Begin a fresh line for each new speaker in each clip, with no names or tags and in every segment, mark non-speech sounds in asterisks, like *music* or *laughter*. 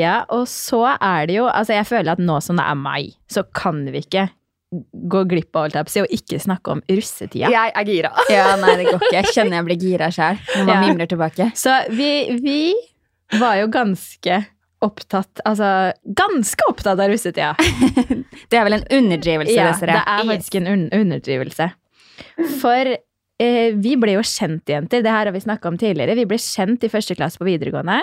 Ja, og så er det jo Altså, jeg føler at nå som det er meg, så kan vi ikke gå glipp av holdt jeg på å si, og ikke snakke om russetida.
Jeg er gira.
Ja, nei, det går ikke. Jeg kjenner jeg blir gira sjæl når man
Ja.
mimrer tilbake.
Så vi, vi var jo ganske opptatt Altså ganske opptatt av russetida.
Det er vel en underdrivelse,
Ja,
det ser
det
jeg.
er faktisk en un underdrivelse. For eh, vi ble jo kjent, jenter. Det her har vi snakka om tidligere. Vi ble kjent i første klasse på videregående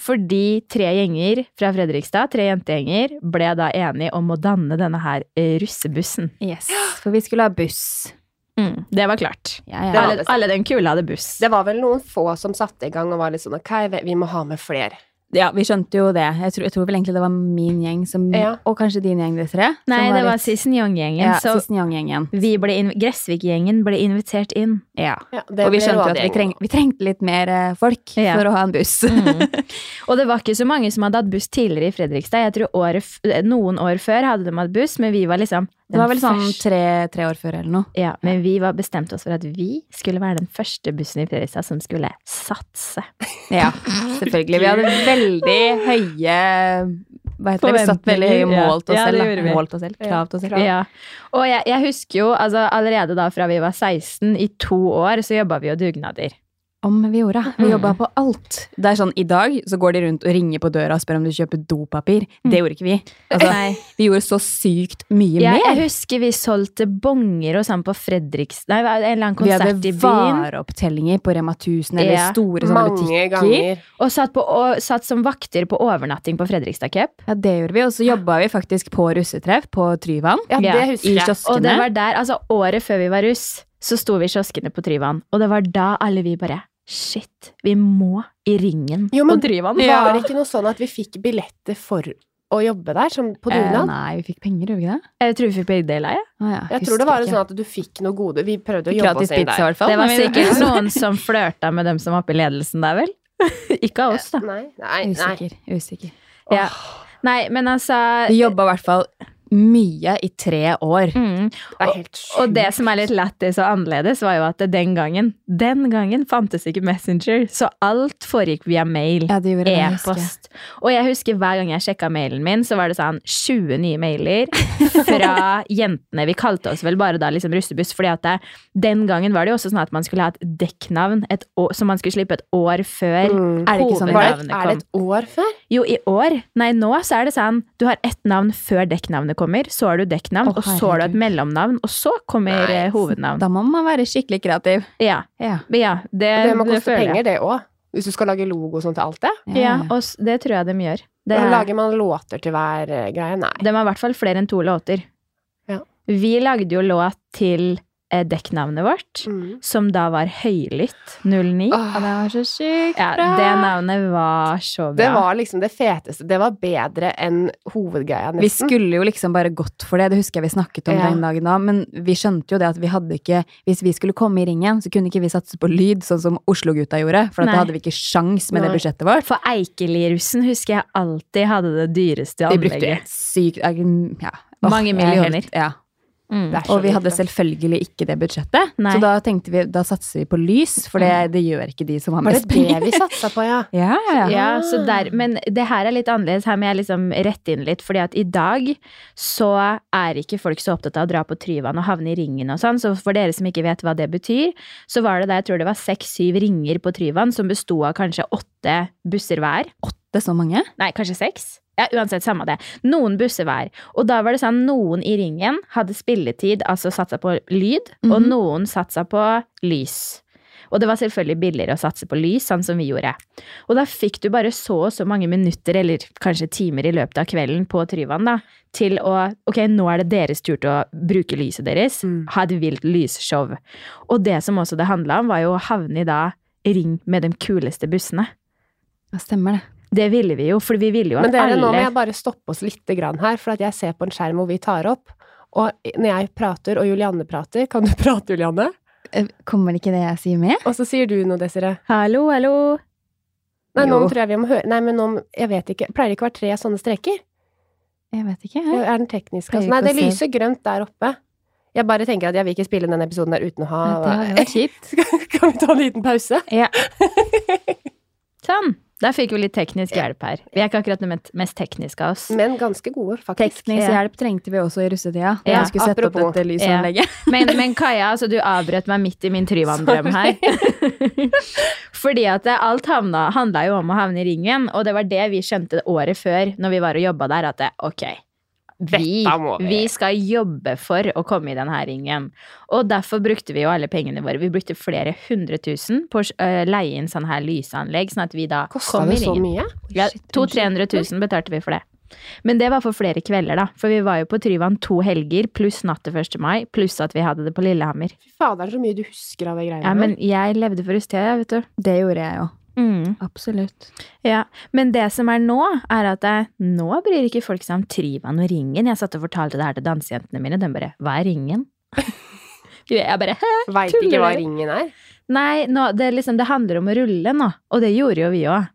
fordi tre gjenger fra Fredrikstad, tre jentegjenger, ble da enige om å danne denne her eh, russebussen. Mm,
Yes, for vi skulle ha buss.
Det var klart.
Ja,
Det
ja.
var
Alle,
det.
alle den kula hadde buss.
*laughs* Det var vel noen få som satte i gang og var litt sånn ok, vi- vi må ha med flere.
ja, vi skjønte jo det. Jeg tror, jeg tror vel egentlig det var min gjeng som
Ja.
Og kanskje din gjeng, dessverre. som
Nei, det var
litt-
Sisson Young-gjengen.
ja,
så
Sisten Young-gjengen.
vi ble inv- Gressvik-gjengen ble invitert inn.
Ja.
Ja, det
Og vi
ble
skjønte jo at vi,
rådgivning.
treng, vi trengte litt mer eh, folk
Ja. Mm,
for å ha en buss. *laughs*
*laughs* Og det var ikke så mange som hadde hatt buss tidligere i Fredrikstad. Jeg tror året, f- eh, noen år før hadde de hatt buss, men vi var liksom
Det var vel sånn
første-
tre, tre år før eller noe.
Ja, men vi var bestemt oss for at vi skulle være den første bussen i Fredrikstad som skulle satse.
Ja, selvfølgelig. Vi hadde veldig høye hva heter det? Vi satt veldig høye
Forventninger, ja.
mål til oss
Ja, det
selv.
gjorde
da.
vi.
Mål til oss selv, krav til oss selv.
Ja. Og jeg, jeg husker jo altså, allerede da fra vi var 16, i to år, så jobba vi jo dugnader.
Om vi gjorde. Vi
Mm.
jobba på alt. Det er sånn, I dag så går de rundt og ringer på døra og spør om du kjøper dopapir. Det gjorde ikke vi. Altså,
Mm. Nei.
vi gjorde så sykt mye
Jeg, jeg
mer.
husker vi solgte bonger og sånn på Fredrikstad Nei, en eller annen
Vi
konsert
hadde
i byen.
vareopptellinger på Rema 1000 eller
Ja.
store sånne
Mange
butikker.
ganger.
Og satt, på, og satt som vakter på overnatting på Fredrikstad Cup.
Ja, det gjorde vi. Og så jobba vi faktisk på russetreff på Tryvann.
Ja,
Ja,
det
I
husker jeg.
kioskene.
Og det var der, altså året før vi var russ, så sto vi i kioskene på Tryvann. Og det var da alle vi bare Shit, vi må i ringen
Jo, men
på Tryvann.
Var det ikke noe sånn at vi fikk billetter for å jobbe der, som på
eh,
dugnad?
nei, vi fikk penger, gjorde vi ikke det?
Jeg tror vi fikk begge deler. Ja.
Å, ja,
jeg tror det var
husker
sånn
ikke.
at du fikk noe gode Vi prøvde å jobbe
Gratis
oss inn
pizza, i
der.
hvert fall.
Det var
Men- *laughs*
sikkert noen som flørta med dem som var oppe i ledelsen der, vel? Ikke av oss, da.
Nei,
*laughs*
nei, nei.
Usikker. usikker.
Ja. Nei, men altså
Vi jobba i hvert fall mye i tre år.
mm.
Det er helt sjukt.
Og det som er litt lættis og annerledes, var jo at den gangen Den gangen fantes ikke Messenger, så alt foregikk via mail.
Ja, det gjorde det, jeg husker.
E-post. Og jeg husker hver gang jeg sjekka mailen min, så var det sånn 20 nye mailer
*laughs*
fra jentene. Vi kalte oss vel bare da liksom russebuss, fordi at det, den gangen var det jo også sånn at man skulle ha et dekknavn et år, som man skulle slippe et år før.
Mm.
Er det ikke sånn i
Var
dag?
det,
navnet
er det et år før?
Jo, i år. Nei, nå så er det sånn du har ett navn før dekknavnet kommer, så har du dekknavn,
Å,
og så har du et
herregud.
mellomnavn, og så kommer
Nei,
eh, hovednavn.
Da må man være skikkelig kreativ.
Ja.
Ja,
Men ja, det,
Det må
Eh, det
koste
føler jeg.
penger, det òg. Hvis du skal lage logo og sånn til alt det.
ja,
Ja,
ja.
og s- det tror jeg de gjør. Det
Men
er-
Lager man låter til hver eh, greie? Nei.
De har i hvert fall flere enn to låter.
Ja.
Vi lagde jo låt til eh, dekknavnet vårt,
Mm.
som da var Høylytt 09.
Å, det var så sykt
Ja,
bra!
det navnet var så bra.
Det var liksom det feteste. Det var bedre enn hovedgreia,
Vi
nesten.
skulle jo liksom bare gått for det, det husker jeg vi snakket om
Ja.
den dagen da, men vi skjønte jo det at vi hadde ikke Hvis vi skulle komme i ringen, så kunne ikke vi satse på lyd, sånn som Oslo-gutta gjorde, for at
Nei.
da hadde vi ikke sjans med
Nei.
det budsjettet vårt.
For Eikelirussen husker jeg alltid hadde det dyreste
De brukte
anlegget.
helt sykt ja, åh,
Mange
jeg er
millioner.
Helt, ja.
Mm.
Det er så
Og vi
vilt,
hadde
da.
selvfølgelig ikke det budsjettet,
Nei.
så da tenkte vi, da satser vi på lys, for det, det gjør ikke de som har
Var det
mest
det
penger.
vi satsa på, ja?
*laughs* Ja, ja, ja.
Ja, så der, men det her er litt annerledes. Her må jeg liksom rette inn litt. fordi at i dag så er ikke folk så opptatt av å dra på Tryvann og havne i ringen og sånn. Så for dere som ikke vet hva det betyr, så var det da jeg tror det var seks-syv ringer på Tryvann som besto av kanskje åtte busser hver.
Det er så mange.
Nei, kanskje seks? Ja, uansett, samme det. Noen busser hver. Og da var det sånn noen i ringen hadde spilletid, altså satsa på lyd, og
Mhm.
noen satsa på lys. Og det var selvfølgelig billigere å satse på lys, sånn som vi gjorde. Og da fikk du bare så og så mange minutter, eller kanskje timer i løpet av kvelden på Tryvann, da, til å Ok, nå er det deres tur til å bruke lyset deres.
Mm.
Ha et vilt lysshow. Og det som også det handla om, var jo å havne i da ring med de kuleste bussene.
Ja, stemmer det.
Det ville vi jo, for vi ville jo
Men
at
dere, nå må
alle
jeg bare stoppe oss litt grann her, for at jeg ser på en skjerm hvor vi tar opp. Og når jeg prater, og Julianne prater Kan du *laughs* prate, Julianne?
Eh, Kommer ikke det jeg sier med?
Og så sier du noe, Desiree.
Hallo, hallo.
Nei, nå
Jo.
tror jeg vi må høre Nei, men nå Jeg vet ikke. Pleier det ikke å være tre sånne streker?
Jeg vet ikke. jeg.
Er den teknisk
Pleier
altså? Nei,
ikke å
det
se.
lyser grønt der oppe. Jeg bare tenker at jeg vil ikke spille den episoden der uten å ha
Nei, det hadde vært kjipt.
*laughs* Kan vi ta en
*laughs*
liten pause?
Sånn. Der fikk vi litt teknisk hjelp her. Vi er ikke akkurat det met- mest tekniske av oss.
Men ganske gode, faktisk.
Teknisk
Ja.
hjelp trengte vi også i russetida. Da
Ja,
jeg skulle sette
apropos.
opp dette lysanlegget.
Men, men Kaja, altså, du avbrøt meg midt i min
*laughs*
Tryvann-drøm her. *laughs* Fordi at det- alt havna, handla jo om å havne i ringen, og det var det vi skjønte året før når vi var og jobba der, at det, ok, vi,
Dette må vi.
vi skal jobbe for å komme i denne ringen. Og derfor brukte vi jo alle pengene våre. Vi brukte flere hundre tusen på å øh, leie inn sånn her lysanlegg, sånn at vi da
Kosta
kom i
det så
ringen.
mye?
Ja,
Shit, unnskyld.
200 300 000 betalte vi for det. Men det var for flere kvelder, da. For vi var jo på Tryvann to helger, pluss natt til 1. mai, pluss at vi hadde det på Lillehammer.
Fy fader, så mye du husker av de greiene.
Ja, men jeg levde for Ustia, jeg, vet du.
Det gjorde jeg jo.
Mm.
Absolutt.
Ja. Men det som er nå, er at jeg, nå bryr ikke folk seg om Tryvann og ringen. Jeg satt og fortalte det her til dansejentene mine, de bare 'hva er *laughs* ringen'? jeg bare «Hæ?»
der. Veit ikke hva
tuller.
ringen er.
Nei, nå, det, er liksom, det handler om å rulle nå. Og det gjorde jo vi òg.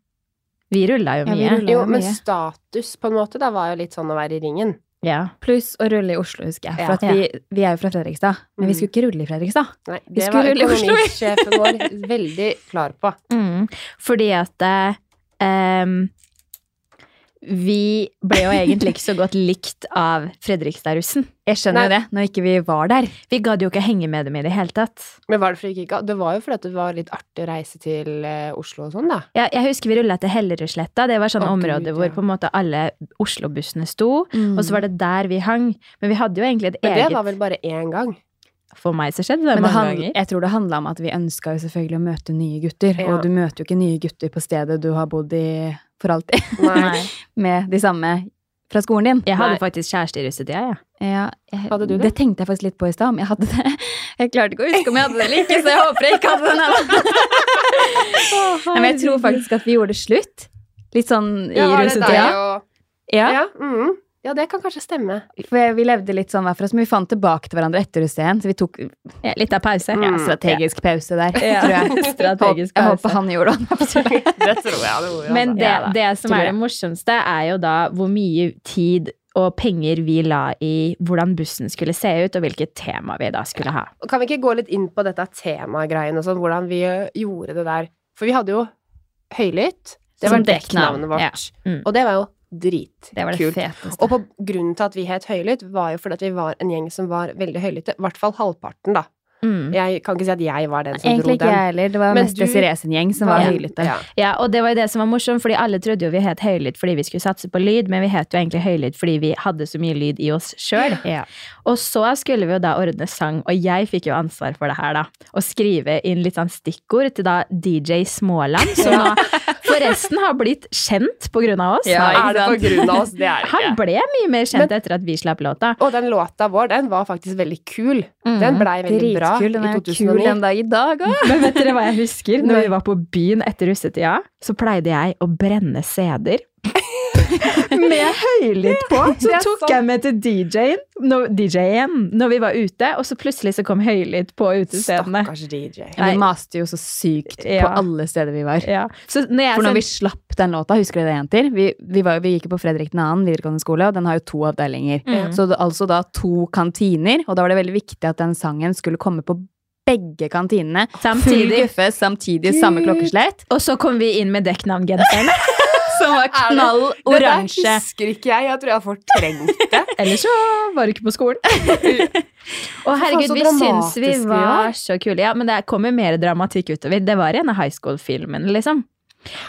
Vi rulla jo
Ja, vi
mye.
rullet
Jo,
jo
men
mye.
status på en måte, da var jo litt sånn å være i ringen.
Ja.
Pluss å rulle i Oslo, husker jeg. For
Ja.
at vi, vi er jo fra Fredrikstad. Men
Mm.
vi skulle ikke rulle i Fredrikstad.
Nei,
Vi
det var
skulle rulle i Oslo, vi.
økonomisjefen vår veldig klar på.
Mm, fordi at eh, em, Vi ble jo egentlig ikke så godt likt av Fredrikstad-russen.
Jeg skjønner jo det, når ikke vi var der.
Vi gadd jo ikke henge med dem i det hele tatt.
Men var det fordi du ikke Det var jo fordi at det var litt artig å reise til eh, Oslo og sånn, da.
Jeg, jeg husker vi rulla til Hellerudsletta. Det var sånn
Å, Gud,
område hvor
ja.
på en måte alle Oslo-bussene sto.
Mm.
Og så var det der vi hang. Men vi hadde jo egentlig et
Men det
eget
var vel bare én
*laughs*
gang.
For meg så skjedde det
Men det
mange
hand-
ganger.
jeg tror det handla om at vi ønska jo selvfølgelig å møte nye gutter.
Ja.
Og du møter jo ikke nye gutter på stedet du har bodd i for alltid,
Nei.
med de samme fra skolen din.
*laughs* Jeg hadde
Nei.
faktisk kjæreste i russetida, jeg.
Ja, jeg,
Hadde du det?
det tenkte jeg faktisk litt på i stad, om jeg hadde det. *laughs* Jeg klarte ikke å huske om jeg hadde det eller ikke, så jeg håper jeg ikke hadde det. nå. Nei, Men jeg tror faktisk at vi gjorde det slutt. Litt sånn i
var det
russetida.
deg og-
Ja.
Ja, mhm. ja, det kan kanskje stemme.
For vi levde litt sånn hver for oss, men vi fant tilbake til hverandre etter russen. Så vi tok
Ja, litt av pause.
Mm.
ja,
*laughs*
strategisk pause der, tror jeg.
Strategisk
Håp- jeg
pause.
håper han gjorde det.
det tror jeg det gjorde. altså.
Men det,
Ja da,
det som
tror
er
jeg.
det morsomste, er jo da hvor mye tid og penger vi la i hvordan bussen skulle se ut, og hvilket tema vi da skulle ha.
Og Kan vi ikke gå litt inn på dette temagreien og sånn, hvordan vi ø, gjorde det der? For vi hadde jo Høylytt. Det var
Som dekknavn,
dekknavnet vårt.
ja. Mm.
Og det var jo dritkult.
Det var det feteste.
Og på grunnen til at vi het Høylytt, var jo fordi at vi var en gjeng som var veldig høylytte. I hvert fall halvparten, da.
Mm.
Jeg kan ikke si at jeg var den som
Egentlig
dro
ikke
den.
jeg heller. Det var
Men
mest
du-
Desiree sin gjeng som var
Ja.
høylytte.
Ja.
Ja, og det var jo det som var morsomt, fordi alle trodde jo vi het Høylytt fordi vi skulle satse på lyd, men vi het jo egentlig Høylytt fordi vi hadde så mye lyd i oss sjøl. Og så skulle vi jo da ordne sang, og jeg fikk jo ansvar for det her, da. Å skrive inn litt sånn stikkord til da DJ Småland, som nå forresten har blitt kjent på grunn av oss.
Ja,
Er det på
sant?
grunn av oss? Det er det
Han
ikke.
ble mye mer kjent etter at vi slapp låta.
Og den låta vår, den var faktisk veldig kul. Den blei veldig
Mm.
bra
Dritkul. Den
i
er jo kul
2009.
den dag i dag òg.
Men vet dere hva
*laughs*
jeg husker? Når
Nei.
vi var på byen etter russetida, så pleide jeg å brenne CD-er. med høylytt *laughs* på!
*laughs*
Så
det er
tok
sant.
jeg med til DJ-en når, DJ-en når vi var ute, og så plutselig så kom høylytt på utestedene.
Stakkars DJ.
Vi
Nei.
maste jo så sykt på
Ja.
alle steder vi var.
Ja. Så når jeg
For når
sendte-
vi slapp den låta, husker dere det, jenter? Vi, vi, var, vi gikk jo på Fredrik 2. videregående skole, og den har jo to avdelinger.
Mm.
Så det, altså da to kantiner, og da var det veldig viktig at den sangen skulle komme på begge kantinene. Full
Samtidig.
guffe samtidig, samme klokkeslett,
Og så kom vi inn med dekknavngenseren.
som var knall
Det der
oransje.
husker ikke jeg. Jeg tror jeg
*laughs*
har fortrengt det.
Ellers så var du ikke på
*laughs*
skolen. Å herregud,
så
vi syns vi
dramatiske vi
var
var.
så kule. Ja, men det kommer mer dramatikk utover. Det var i en av high school-filmen, liksom.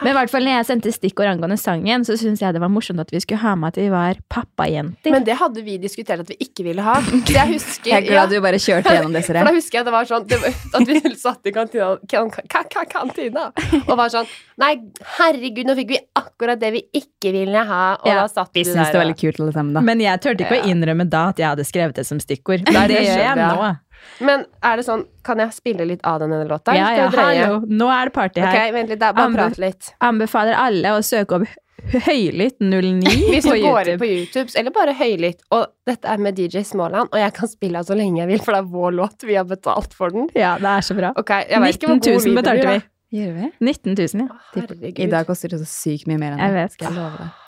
Men i hvert fall når jeg sendte stikkord angående sangen, så syns jeg det var morsomt at vi skulle ha med at vi var pappajenter.
Men det hadde vi diskutert at vi ikke ville ha. Det jeg husker
Jeg er glad du bare kjørte gjennom det,
*laughs* For
Sere.
da husker jeg det var sånn det var, *laughs* At vi satt i kantina, kan, kan, kan, kantina og var sånn Nei, herregud, nå fikk vi akkurat det vi ikke ville ha. Og da
Ja,
satt
Vi syns det var litt kult alle sammen, da.
Men jeg turte ikke å innrømme da at jeg hadde skrevet det som stikkord. Men det
*laughs* det
gjør jeg
skjønner jeg.
nå.
Men er det sånn Kan jeg spille litt av denne låta? eller
Ja, ja,
skal jeg dreie?
hallo. Nå er det party her.
Ok, vent litt, da. Bare
Amber.
prat litt.
Anbefaler alle å søke opp Hø-
*laughs*
Høylytt 09
Hvis du
på
går inn
YouTube.
på YouTube, eller bare høylytt Og dette er med DJ Småland, og jeg kan spille av så lenge jeg vil, for det er vår låt. Vi har betalt for den.
Ja, det er så bra.
Ok, jeg vet ikke
19
hvor god
000 betalte vi.
Gjør vi?
19 000, ja.
Herregud.
I dag koster det så sykt mye mer enn det.
Jeg vet.
Skal jeg love deg.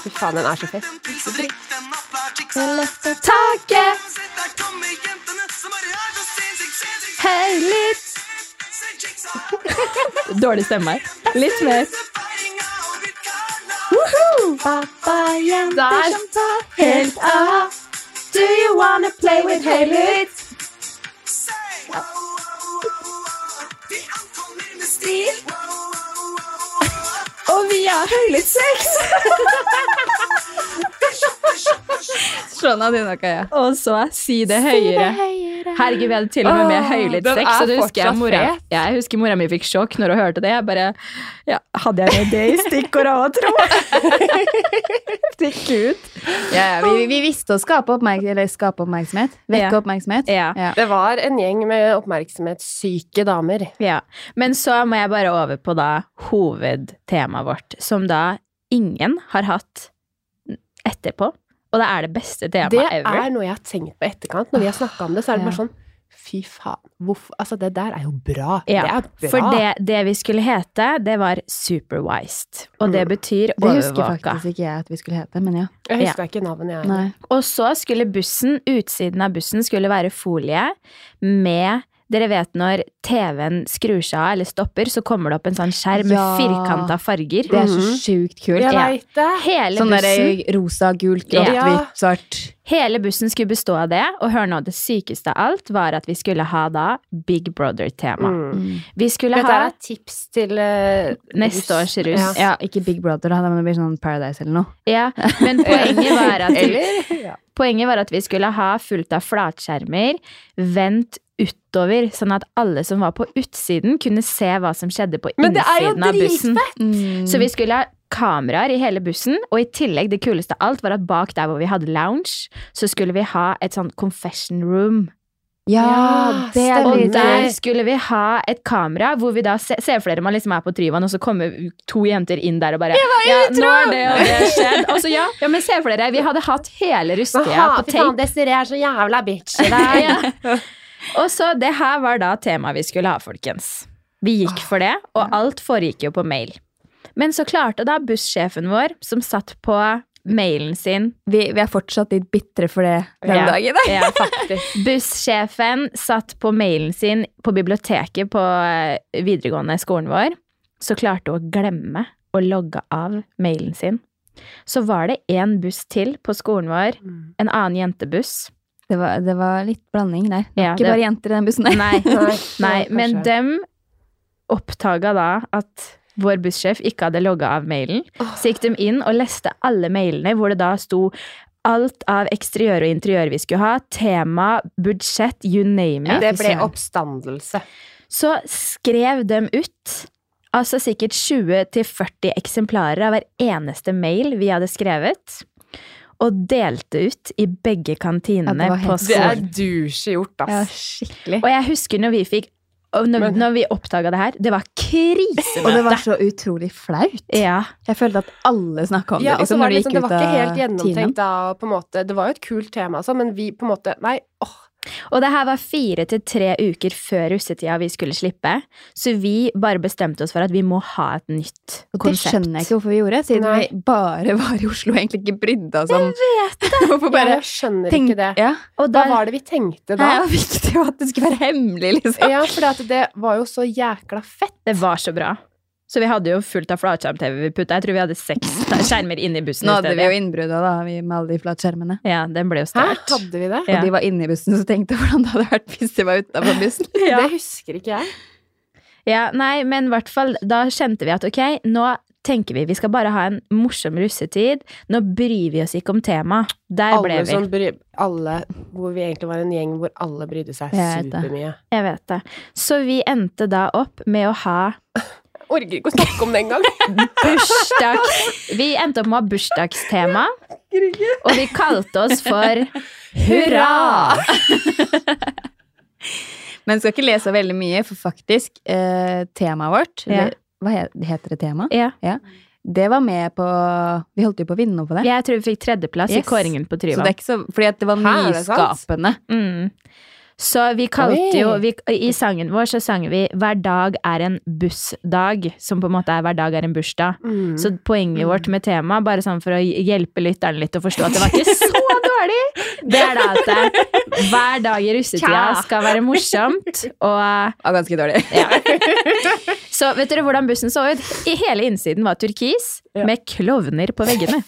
Fy faen, den er så *laughs* fett.
Så drikk den opp, vær trikk
Taket
Sett deg, kom i jentene som er her så sinnssykt, sinnssykt
høylytt
Sinnssykt sa
Dårlig stemme her. Litt mer.
Feiringa og mitt kalla
Der!
Helt av. Do you wanna play with høylytt?
Say wow, wow, wow, wow De ankommer med stil Wow, wow, wow, wow
Og vi har høylytt sex!
Sånn hadde hun nok av, ja.
Og så si det høyere. Herregud, vi hadde til og med med
Åh,
høylytt
den
sex.
er
Og det husker jeg
fortsatt
mora
fet.
ja, Jeg husker mora mi fikk sjokk når hun hørte det. Jeg bare ja, Hadde jeg med det i stikkordet òg, tro? Stikk ut.
ja, ja. Vi, vi visste å skape, oppmerk eller skape oppmerksomhet. Vekke
Ja.
oppmerksomhet.
*laughs* Ja.
Det var en gjeng med oppmerksomhetssyke damer.
Ja, men så må jeg bare over på da hovedtemaet vårt, som da ingen har hatt etterpå. Og det er det beste temaet
Det
ever. Ah,
er noe jeg har tenkt på i etterkant. Når vi har snakka om det, så er det bare
Ja.
sånn Fy faen. Hvorfor Altså, det der er jo bra.
Ja,
det er bra.
For det, det vi skulle hete, det var superwised. Og det
Mm.
betyr
Det husker
overvåka.
faktisk ikke jeg at vi skulle hete, men ja.
jeg husker ikke navnet, jeg.
Nei.
Og så skulle bussen, utsiden av bussen, skulle være folie med dere vet når TV-en skrur seg av eller stopper, så kommer det opp en sånn
Ja.
skjerm med firkanta farger.
Det er så
Mhm.
sjukt kult.
Jeg
Ja.
veit det.
Hele
Sånn der
bussen
rosa, gult, grått,
Ja.
hvitt, svart.
Hele bussen skulle bestå av det, og hør nå, det sykeste av alt var at vi skulle ha da Big Brother-tema.
Mm.
Vi skulle
Dette er
ha
et tips til eh,
neste
russ.
års rus.
Ja,
Ja.
ikke Big Brother, da, men det blir sånn Paradise eller noe.
Men poenget var, at,
Eller ja.
poenget var at vi skulle ha fullt av flatskjermer, vendt utover, sånn at alle som var på utsiden, kunne se hva som skjedde på
Men det er jo
innsiden av bussen. Så
Så vi
vi skulle ha kameraer i hele bussen, og i tillegg, det kuleste av alt, var at bak der hvor vi hadde lounge, så skulle vi ha et sånn confession room.
Ja, det er
stemmer.
Og
litt
der skulle vi ha et kamera hvor vi da se, ser for dere man liksom er på Tryvann, og så kommer to jenter inn der og bare Ja, nå er det og det skjedd. Og så ja, ja, men se for dere, vi hadde hatt hele Rustia
Aha,
på
fy faen,
tape.
Desiree er så jævla
*laughs*
bitch i
Ja,
deg.
ja. Og så det her var da temaet vi skulle ha, folkens. Vi gikk for det, og alt foregikk jo på mail. Men så klarte da bussjefen vår, som satt på mailen sin
vi, vi er fortsatt litt bitre for det den
Ja.
dagen. da.
Ja, faktisk. Bussjefen satt på mailen sin på biblioteket på eh, videregående skolen vår, så klarte hun å glemme å logge av mailen sin. Så var det én buss til på skolen vår,
Mm.
en annen jentebuss.
Det var, det var litt blanding der. Det var
Ja,
ikke
det-
bare jenter i den bussen der.
Nei,
Nei,
nei men
kanskje.
dem oppdaga da at vår bussjef ikke hadde logga av mailen. Så gikk de inn og leste alle mailene hvor det da sto alt av eksteriør og interiør vi skulle ha, tema, budsjett, you name it.
Det
fy
ble
søren.
oppstandelse.
så skrev dem ut altså sikkert 20-40 eksemplarer av hver eneste mail vi hadde skrevet, og delte ut i begge kantinene
Ja, det var
på
helt-
Det er
skolen.
douche gjort,
Ja,
ass.
skikkelig.
Og jeg husker når vi fikk og når,
Men-
når vi oppdaga det her, det var krise!
Og det var så utrolig flaut.
Ja,
Jeg følte at alle snakka om
Ja,
det.
og så
Liksom,
var
når
det,
de
liksom, det
gikk
var
ut av
ikke helt gjennomtenkt
timen.
da, på en måte. Det var jo et kult tema, altså, men vi på en måte Nei, åh.
Og det her var fire til tre uker før russetida vi skulle slippe, så vi bare bestemte oss for at vi må ha et nytt
Og det
konsept.
skjønner jeg ikke hvorfor vi gjorde, siden
Nei.
vi bare var i Oslo og egentlig ikke brydde oss om *laughs* Hvorfor bare
Jeg skjønner
tenk-
ikke det.
Ja.
Og
Hva
der-
var det vi
Nei,
tenkte
*laughs* Det
da?
var viktig jo at det skulle være hemmelig, liksom.
*laughs* Ja, for det, det var jo så jækla fett.
Det var så bra. Så vi hadde jo fullt av flatskjerm-TV vi putta. Jeg tror vi hadde seks skjermer inne i bussen.
Nå
i
hadde
stedet.
vi jo innbrudd da, vi med alle de flatskjermene.
Ja, den ble jo
Hæ?
stjålet.
Hadde vi det?
Ja.
Og de var inne i bussen, så tenkte jeg hvordan det hadde vært hvis de var utafor
*laughs*
bussen.
Ja.
Det husker ikke jeg.
ja, nei, men i hvert fall, da kjente vi at ok, nå tenker vi vi skal bare ha en morsom russetid. Nå bryr vi oss ikke om temaet. Der ble
Alle
vi.
som bry, alle, hvor vi egentlig var en gjeng hvor alle brydde seg
Jeg vet det.
supermye.
Jeg vet det. Så vi endte da opp med å ha
*laughs*
Orker ikke å snakke om det engang.
bursdags... Vi endte opp med å ha bursdagstema.
orker ikke.
Og vi kalte oss for Hurra!
Men skal ikke lese veldig mye, for faktisk, eh, temaet vårt
Ja.
eller, Hva he- heter det tema?
Ja.
Det var med på Vi holdt jo på å vinne noe på det.
Jeg tror vi fikk tredjeplass i
Yes.
kåringen på
Så det
Tryvann.
er ikke så Fordi at det var
Hæ, er det sant?
nyskapende.
Mm. Så vi kalte
Oi.
jo vi, I sangen vår så sang vi 'Hver dag er en bussdag', som på en måte er 'Hver dag er en bursdag'.
Mm.
Mm.
Så poenget vårt med temaet, bare sånn for å hjelpe lytteren litt å forstå at det var
*laughs*
ikke så dårlig, det er da at det, hver dag i russetida
Tja.
skal være morsomt. Og
Ja, ganske dårlig.
så vet dere hvordan bussen så ut? I hele innsiden var turkis
Ja.
med klovner på veggene.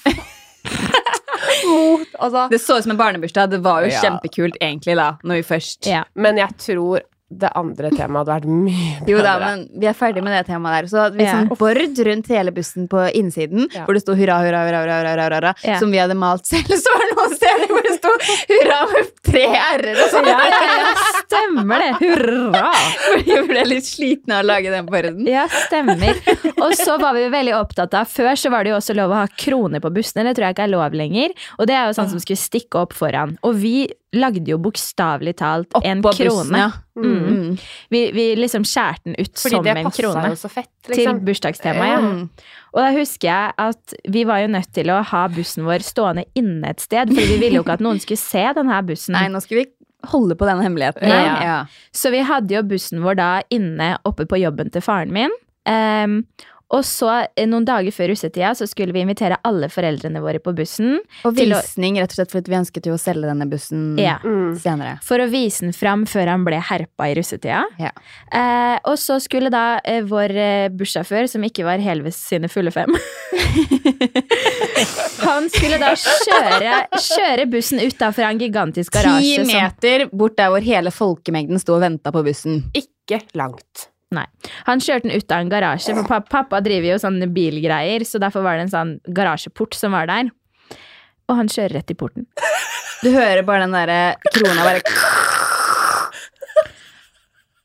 mot, altså.
*laughs* Det så ut som en barnebursdag. Det var jo
Ja.
kjempekult, egentlig, da, når vi først
Ja.
Men jeg tror det andre temaet hadde vært mye bedre.
Jo da, men vi er ferdig med det temaet der. Så vi
Ja.
sånn bord rundt hele bussen på innsiden,
Ja.
hvor det sto hurra, hurra, hurra, hurra, hurra, hurra, hurra
Ja.
som vi hadde malt selv. *laughs* Så var det noen steder hvor det sto hurra med tre r-er og
Ja,
sånn.
ja, ja, stemmer det. Hurra!
*laughs* Fordi vi ble litt slitne av å lage den borden.
Ja, stemmer. Og så var vi veldig opptatt av Før så var det jo også lov å ha kroner på bussene. Det tror jeg ikke er lov lenger. Og det er jo sånn som skulle stikke opp foran. Og vi lagde jo bokstavelig talt
Oppå
en
bussen,
krone.
ja.
Mm.
Mm.
Vi, vi liksom skjærte den ut
Fordi
som
det
en
passa
krone.
jo så fett,
Til
liksom.
bursdagstemaet, ja.
Mm.
Og da husker jeg at vi var jo nødt til å ha bussen vår stående inne et sted, for vi ville jo ikke at noen skulle se denne bussen.
Nei, nå skal vi holde på denne hemmeligheten.
Ja.
Ja. Ja.
Så vi hadde jo bussen vår da inne oppe på jobben til faren min. Ehm, og så eh, noen dager før russetida så skulle vi invitere alle foreldrene våre på bussen
Og
Til å-
visning, rett og slett fordi vi ønsket jo å selge denne bussen
Ja.
Mm.
senere.
for å vise den fram før han ble herpa i russetida.
Ja.
Eh, og så skulle da eh, vår eh, bussjåfør, som ikke var hele ved sine fulle fem *laughs* Han skulle da kjøre, kjøre bussen utafor en gigantisk
Ti
garasje. som-
meter bort der hvor hele folkemengden sto og venta på bussen.
Ikke *laughs* langt.
Han kjørte den ut av en garasje, for pappa, pappa driver jo sånne bilgreier, så derfor var det en sånn garasjeport som var der. Og han kjører rett i porten.
Du hører bare den derre krona bare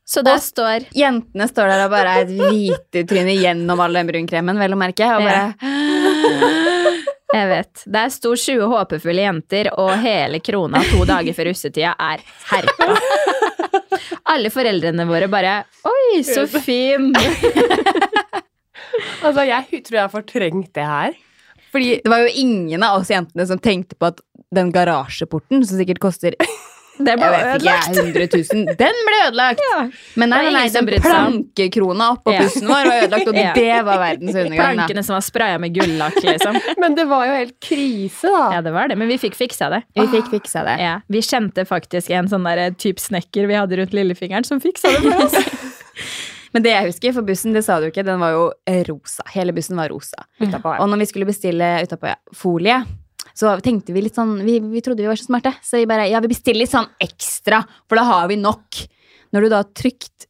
Så der står
Jentene står der og bare er et hvitetryne gjennom all den brunkremen, vel å merke. Og bare,
*laughs* Jeg vet. Der sto 20 håpefulle jenter, og hele krona to dager før russetida er herpa.
Altså,
Alle foreldrene våre bare Oi, så
*laughs*
fin!
Altså, jeg hu- tror jeg har fortrengt det her.
fordi det var jo ingen av oss jentene som tenkte på at den garasjeporten, som sikkert koster jeg
Det ble
vet ikke,
ødelagt.
100 000, den ble ødelagt! Men nei,
Det var
nei, nei
ingen som
den
brydde seg om.
plankekrona oppå
Ja.
bussen vår var ødelagt, og
*laughs* Ja.
det var verdens undergang. Da.
Plankene som var spraya med gullakk, liksom.
*laughs* Men det var jo helt krise,
Ja,
da.
det var det. Men vi fikk fiksa det.
Vi fikk fiksa det.
Ja, vi kjente faktisk en sånn der type snekker vi hadde rundt lillefingeren som fiksa det for oss.
Men det jeg husker, for bussen, det sa du ikke, den var jo eh, rosa. Hele bussen var rosa.
Utenpå her.
Og når vi skulle bestille utapå ja, folie, så tenkte vi litt sånn vi, vi trodde vi var så smarte, så vi bare Ja, vi bestiller litt sånn ekstra, for da har vi nok. Når du da har trykt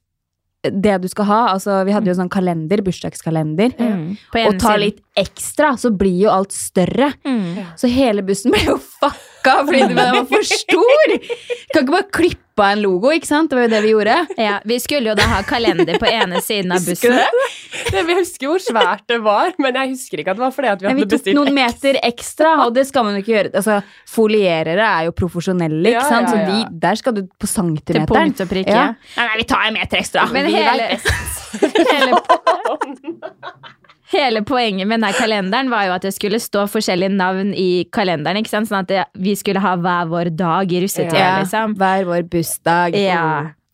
det du skal ha, altså vi hadde jo sånn kalender, bursdagskalender,
På
Mm. og tar litt ekstra, så blir jo alt større.
Mm.
Så hele bussen ble jo fucka fordi den var for stor! Kan ikke bare klippe av en logo, ikke sant? Det var jo det vi gjorde.
Ja, vi skulle jo da ha kalender på ene siden av
Husker du
bussen.
det?
Det- Jeg husker hvor svært det var, men jeg husker ikke at det var fordi at vi
Men vi
hadde
tok
bestilt *laughs*
noen meter ekstra, og det skal man jo ikke gjøre. Altså, folierere er jo profesjonelle,
Ja,
ikke sant?
ja, ja.
Så de, der skal du på
Til
centimeteren.
punkt og prikke.
Ja. Nei, nei, vi tar en meter ekstra.
Men
Vi
hele,
vet det.
hele, hele poenget med denne kalenderen var jo at det skulle stå forskjellige navn i kalenderen. ikke sant? Sånn at det, vi skulle ha hver vår dag i russetida.
ja,
liksom.
Hver vår bursdag.
Ja.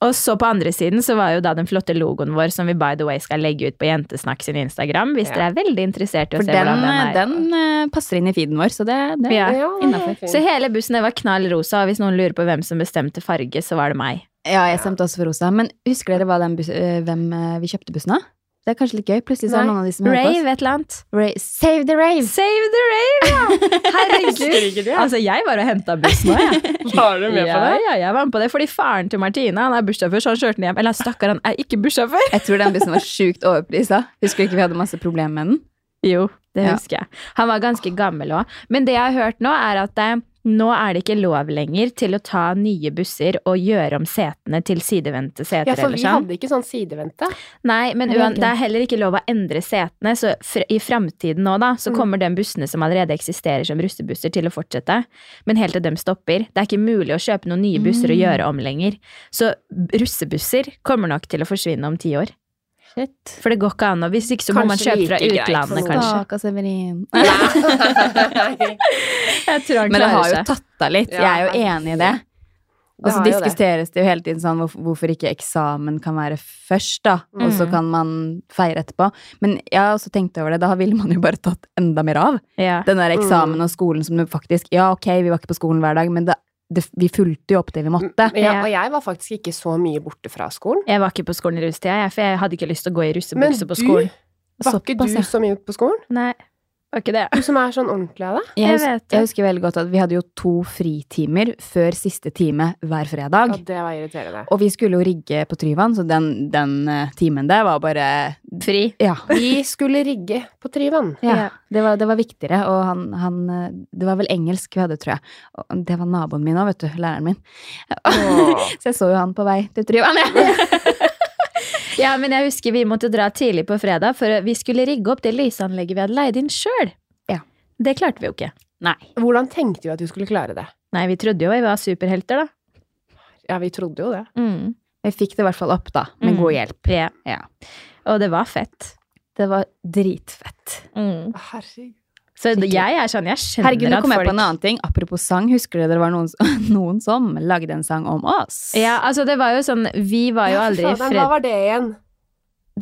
Og så på andre siden så var jo da den flotte logoen vår som vi by the way skal legge ut på Jentesnakk sin Instagram, hvis
Ja.
dere er veldig interessert i å
For
se
den,
hvordan den er.
den eh, passer inn i feeden vår, så det, det
Ja.
Ja, det er
Innenfor.
fint.
Så hele bussen var knall rosa, og hvis noen lurer på hvem som bestemte farge, så var det meg.
Ja, jeg stemte også for Rosa. Men husker dere hva den bus eh, hvem eh, vi kjøpte bussen av? Det er kanskje litt gøy. Plutselig så er det
Nei.
noen av de som hører på oss.
Rave et eller annet.
Rave. Save the rave!
Save the rave,
*laughs*
ja!
Husker ikke
Herregud.
det?
Altså, jeg var og henta bussen òg, jeg.
Var du med på
Ja,
det?
ja, jeg var med på det. Fordi faren til Martine han er bussjåfør, så han kjørte den hjem. Eller stakkar, han er ikke bussjåfør. *laughs*
Jeg tror den bussen var sjukt overprisa. Husker du ikke vi hadde masse problemer med den?
Jo, det
Ja.
husker jeg. Han var ganske gammel òg. Men det jeg har hørt nå, er at eh, Nå er det ikke lov lenger til å ta nye busser og gjøre om setene til sidevendte seter.
Ja, for
eller
vi
sånn.
hadde ikke sånn *laughs* sidevente.
Nei, men
Nei, det er
uan-
ikke
det er heller ikke lov å endre setene, så fr i framtiden nå, da, så
Mm.
kommer de bussene som allerede eksisterer som rustebusser, til å fortsette. Men helt til de stopper. Det er ikke mulig å kjøpe noen nye busser og
Mm.
gjøre om lenger. Så b- russebusser kommer nok til å forsvinne om ti år.
Shit.
For det går ikke an å Hvis ikke så må
Kanskje
man kjøpe fra
like greit for
utlandet,
noen.
kanskje.
Stakkars Severin.
Nei.
*laughs* Jeg tror han
Men det har
klarer
jo
seg.
tatt av litt.
Ja,
Jeg er jo enig i det. *laughs* Og så
har jo det.
diskuteres det jo hele tiden sånn hvorfor, hvorfor ikke eksamen kan være først, da. Og så
Mm.
kan man feire etterpå. Men jeg har også tenkt over det. Da ville man jo bare tatt enda mer av.
Ja.
Den der eksamen
Mm.
og skolen som du faktisk Ja, ok, vi var ikke på skolen hver dag, men det, det, vi fulgte jo opp det vi måtte.
Mm, Ja, og jeg var faktisk ikke så mye borte fra skolen.
Jeg var ikke på skolen i russetida, jeg, for jeg hadde ikke lyst til å gå i
Men
russebukse
du,
på skolen.
var ikke
Såpass,
du
ja.
så mye på skolen?
Nei, var ikke det.
Du som er sånn ordentlig av deg.
Jeg
hus-
vet det.
jeg husker veldig godt at vi hadde jo to fritimer før siste time hver fredag.
Ja, det var irriterende.
Og vi skulle jo rigge på Tryvann, så den, den eh, timen der var bare
Fri.
Ja.
Vi skulle rigge på Tryvann.
Ja,
Ja.
Det, var, det var viktigere, og han, han eh, Det var vel engelsk vi hadde, tror jeg. Og det var naboen min òg, vet du. Læreren min. *laughs* Så jeg så jo han på vei til Tryvann, jeg.
Ja, men jeg husker vi måtte dra tidlig på fredag, for vi skulle rigge opp det lysanlegget vi hadde leid inn sjøl.
Ja.
Det klarte vi jo ikke.
Nei.
Hvordan tenkte vi at vi skulle klare det?
Nei, vi trodde jo vi var superhelter, da.
Ja, vi trodde jo det.
Vi fikk det i hvert fall opp, da. Mm. Med
Mm.
god hjelp.
Ja.
Ja.
Og det var fett.
Det var dritfett.
Herregud.
Så det-
Skikkelig.
jeg er sånn, jeg skjønner
Mm. Herregud, nå
at
kom jeg
folk
på en annen ting. Apropos sang, husker dere det var noen, som- *laughs* noen som lagde en sang om oss?
Ja, altså det var jo sånn Vi var jo
Ja, fy
aldri i
faen, Hva
fred...
var det igjen?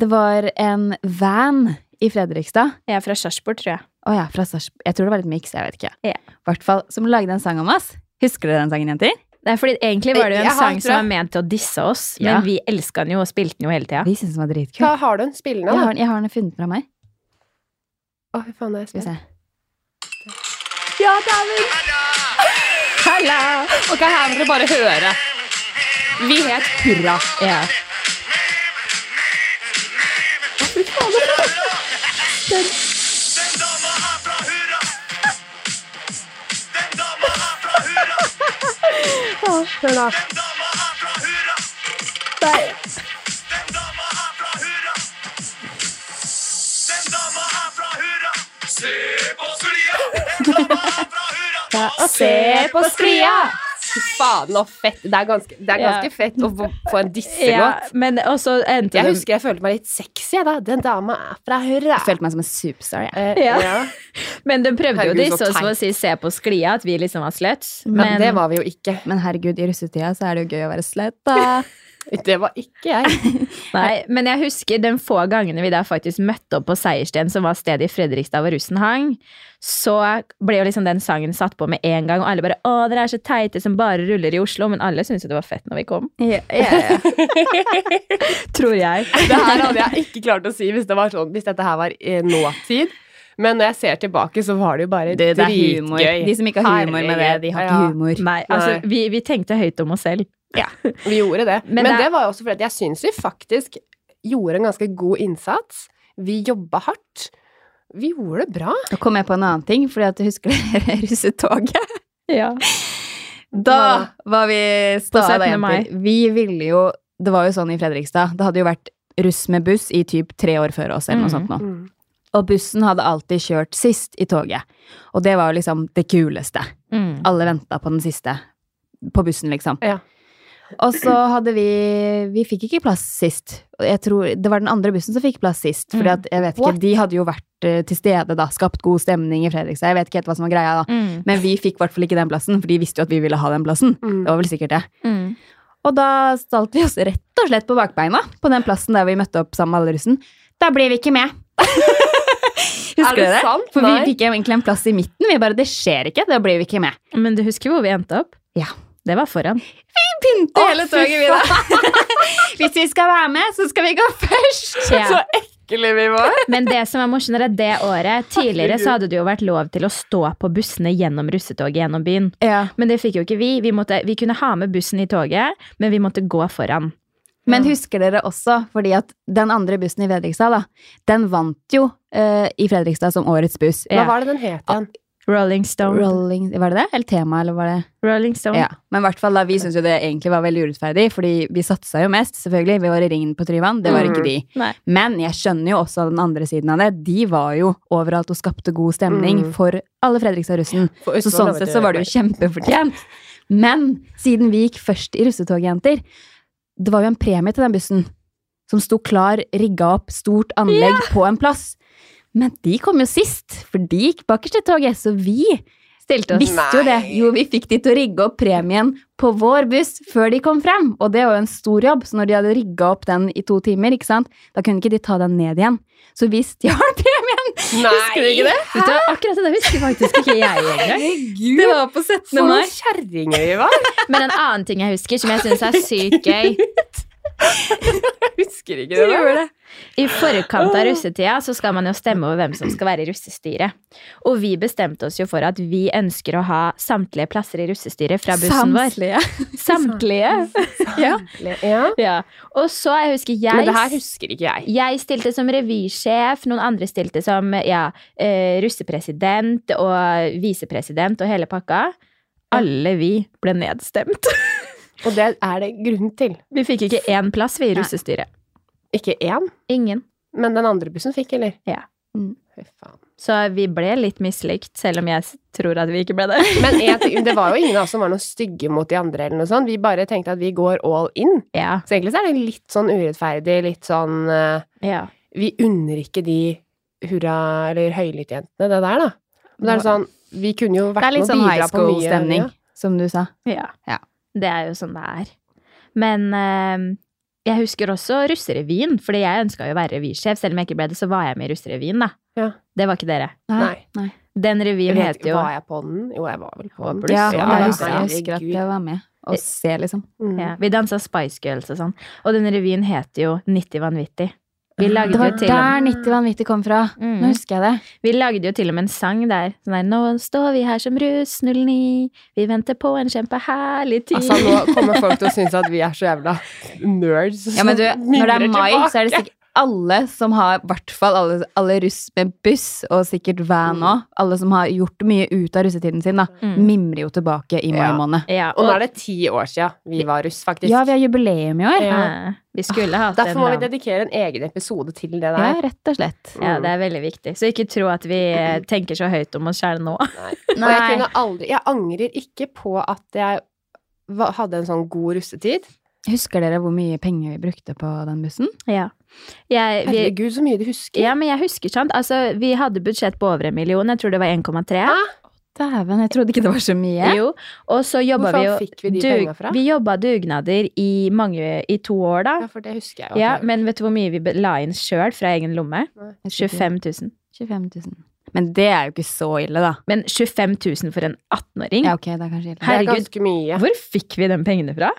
Det var en van i Fredrikstad.
Jeg er fra Sarpsborg, tror jeg.
Å ja, fra Sarpsborg. Jeg tror det var litt miks, jeg vet ikke.
Ja.
Hvert fall, som lagde en sang om oss. Husker dere den sangen, jenter?
Nei, fordi egentlig var det jo en
Jeg har-
sang
tror jeg-
som var ment til å disse oss,
Ja.
men vi elska den jo og spilte den jo hele tida.
Vi syntes den var dritkul.
Hva har du en spillende?
Jeg
da?
har, den- jeg har den funnet fra meg.
Å, fy faen, jeg er
Skal vi
spent.
se.
Ja, dæven! Halla! Ok, her må dere bare høre. Vi het Hurra.
Ja.
Den dama er fra Hurra. Den dama er fra Hurra.
Hør da.
Den dama er fra Hurra.
Nei.
Den dama er fra Hurra. Den dama er fra Hurra. Se på sklia. Den dama er fra Hurra.
Se på sklia! Fy faen, så fett. Det er ganske, det er ganske
Ja.
fett å få få en
ja
disselåt.
men og så endte
Jeg
den-
husker jeg følte meg litt sexy, jeg, da. Den dama er fra
Jeg
Hurra.
følte meg som en superstar, jeg.
Eh,
Ja.
ja.
Men de prøvde jo
Herregud,
disse
så
oss ved å si 'se på sklia', at vi liksom var sluts.
Men,
Men,
det var vi jo ikke.
Men herregud, i russetida så er det jo gøy å være slett, da.
Det var ikke jeg.
nei, men jeg husker de få gangene vi da faktisk møtte opp på Seiersten, som var stedet i Fredrikstad hvor russen hang, så ble jo liksom den sangen satt på med en gang, og alle bare 'Å, dere er så teite som bare ruller i Oslo', men alle syntes jo det var fett når vi kom. *laughs* Tror jeg.
Det her hadde jeg ikke klart å si hvis, det var sånn, hvis dette her var i nåtid. Men når jeg ser tilbake, så var det jo bare
Det, det er
dritgøy.
humor. De som ikke har humor med det, de har ikke
Ja,
humor.
Nei, altså, vi, vi tenkte høyt om oss selv.
Vi gjorde det.
Men
Men,
det
det,
er-
var jo også fordi at jeg syns vi faktisk gjorde en ganske god innsats. Vi jobba hardt. Vi gjorde det bra.
Nå kom jeg på en annen ting, fordi at husker *laughs* dere russetoget?
Ja.
Da var vi
På
stadig
17. mai.
jenter. Vi ville jo Det var jo sånn i Fredrikstad. Det hadde jo vært russ med buss i typ tre år før oss, eller noe
Mm.
sånt nå. Og bussen hadde alltid kjørt sist i toget. Og det var jo liksom det kuleste.
Mm.
Alle venta på den siste på bussen, liksom.
Ja.
Og så hadde vi Vi fikk ikke plass sist. Og Jeg tror, det var den andre bussen som fikk plass sist. Fordi
Mm.
at, jeg vet ikke,
What?
de hadde jo vært eh, til stede, da. Skapt god stemning i Fredrikstad. Jeg vet ikke helt hva som var greia, da.
Mm.
Men vi fikk i hvert fall ikke den plassen, for de visste jo at vi ville ha den plassen.
Mm.
Det var vel sikkert det.
Mm.
Og da stalt vi oss rett og slett på bakbeina på den plassen der vi møtte opp sammen med alle russen. Da ble vi ikke med. *laughs* Husker
Er det
dere?
sant?
For
Nei.
vi fikk egentlig en plass i midten. Vi bare 'det skjer ikke', da blir vi ikke med.
Men du husker hvor vi endte opp?
Ja.
Det var foran.
Vi pynte
Å,
hele
fy
toget, vi, da. *laughs* Hvis vi skal være med, så skal vi gå først.
Ja.
Så ekle vi var.
Men det som er morsomt, er at det året tidligere så hadde det jo vært lov til å stå på bussene gjennom russetoget gjennom byen. Men det fikk jo ikke vi. Vi, måtte, vi kunne ha med bussen i toget, men vi måtte gå foran.
Men husker dere også, fordi at den andre bussen i Fredrikstad, da, den vant jo eh, i Fredrikstad som årets buss.
Ja.
Hva var det den het igjen?
Rolling Stone.
Rolling, var det det? Eller tema, eller var det?
Rolling Stone.
Ja. Men i hvert fall da, vi syntes jo det egentlig var veldig urettferdig, fordi vi satsa jo mest, selvfølgelig. Vi var i ringen på Tryvann, det var ikke de.
Nei.
Men jeg skjønner jo også den andre siden av det. De var jo overalt og skapte god stemning
Mm.
for alle Fredrikstad-russen.
For
Så sånn sett så var det jo kjempefortjent. Men siden vi gikk først i russetoget, jenter, det var jo en premie til den bussen. Som sto klar, rigga opp, stort anlegg på en plass. Men de kom jo sist, for de gikk bakerst i toget. Så vi
Stilte oss.
visste jo det.
Nei.
Jo, vi fikk de til å rigge opp premien på vår buss før de kom frem. Og det var jo en stor jobb, så når de hadde rigga opp den i to timer, ikke sant, da kunne ikke de ta den ned igjen. Så vi stjal premien!
Nei! Husker du ikke det?
Vet du, hva, akkurat det der husker faktisk ikke jeg engang.
Det var på 17.
For noen kjerringer vi var!
Men en annen ting jeg husker, som jeg syns er sykt gøy
Jeg husker ikke det. der.
I forkant av russetida så skal man jo stemme over hvem som skal være i russestyret. Og vi bestemte oss jo for at vi ønsker å ha samtlige plasser i russestyret fra bussen vår. Samtlige! ja.
Ja.
ja. Og så, jeg husker
Men det her
jeg
husker ikke jeg.
jeg stilte som revysjef, noen andre stilte som ja, eh, russepresident og visepresident og hele pakka. Alle vi ble nedstemt. *laughs*
Og det er det grunn til.
Vi fikk ikke én plass vi i
Nei.
russestyret.
Ikke én,
Ingen.
men den andre bussen fikk, eller?
Ja.
Mm.
Fy faen.
Så vi ble litt mislikt, selv om jeg s- tror at vi ikke ble det. *laughs*
Men en ting, det var jo ingen av oss som var noe stygge mot de andre, eller noe sånt. Vi bare tenkte at vi går all in.
Ja,
Så egentlig så er det litt sånn urettferdig, litt sånn eh,
ja.
Vi unner ikke de hurra- eller høylyttjentene det der, da. Men det er sånn Vi kunne jo
Det
vært
er
med
litt
og
sånn high
bidra på mye.
school-stemning, som du sa.
Ja.
Ja.
Det er jo sånn det er. Men eh, jeg husker også russerevyen, fordi jeg ønska jo å være revysjef. Selv om jeg ikke ble det, så var jeg med i russerevyen, da.
Ja.
Det var ikke dere.
Nei.
Den revyen
Jeg vet,
heter jo
var jeg på den? Jo, jeg var vel på den.
Ja,
Ja,
jeg,
ja,
husker, jeg husker at
Herregud.
jeg var med og se, liksom.
Mm.
ja, Vi dansa Spice Girls og sånn. Og den revyen heter jo 90 vanvittig. Vi
Ah,
lagde,
Det
jo
var
til og,
der 90 vanvittig kom fra. Nå
mm,
husker jeg det.
vi lagde jo til og med en sang der. Sånn der Nå står vi her som russ 09, vi venter på en kjempeherlig tid.
Altså, nå kommer folk til å synes at vi er så jævla nerds.
Ja, men du, når
som
det er
mimrer
mai,
tilbake.
så er det sikkert alle som har, i hvert fall alle, alle russ med buss, og sikkert van
Mm.
òg, alle som har gjort mye ut av russetiden sin, da,
Mm.
mimrer jo tilbake i mai
Ja.
måned.
ja,
Og nå er det ti år siden vi var russ, faktisk.
Ja, vi har jubileum i år.
Ja. Ah,
eh, vi skulle hatt
Derfor må
en
vi dedikere en egen episode til det
Ja,
der.
rett og slett.
Ja, det er veldig viktig. Så ikke tro at vi eh, tenker så høyt om oss sjæl nå. *laughs*
Og jeg kunne aldri Jeg angrer ikke på at jeg va- hadde en sånn god russetid.
Husker dere hvor mye penger vi brukte på den bussen?
Ja. Jeg, vi,
Herregud, så mye du husker.
ja, men jeg husker, sant. Altså, vi hadde budsjett på over en million. Jeg tror det var 1,3.
Hæ?
Dæven, jeg trodde ikke det var så mye.
Jo. Og så
Hvor
jobba vi jo
faen fikk vi de
dug-
penga fra?
Vi jobba dugnader i mange i to år, da.
Ja, for det husker jeg jo. at
Ja,
jeg-
men vet du hvor mye vi be- la inn sjøl fra egen lomme?
Jeg tror ikke-
25 000.
25 000. Men det er jo ikke så ille, da.
Men 25 000 for en 18-åring?
Ja, ok, det er kanskje ille.
det er
herregud.
ganske mye.
Hvor fikk vi de pengene fra?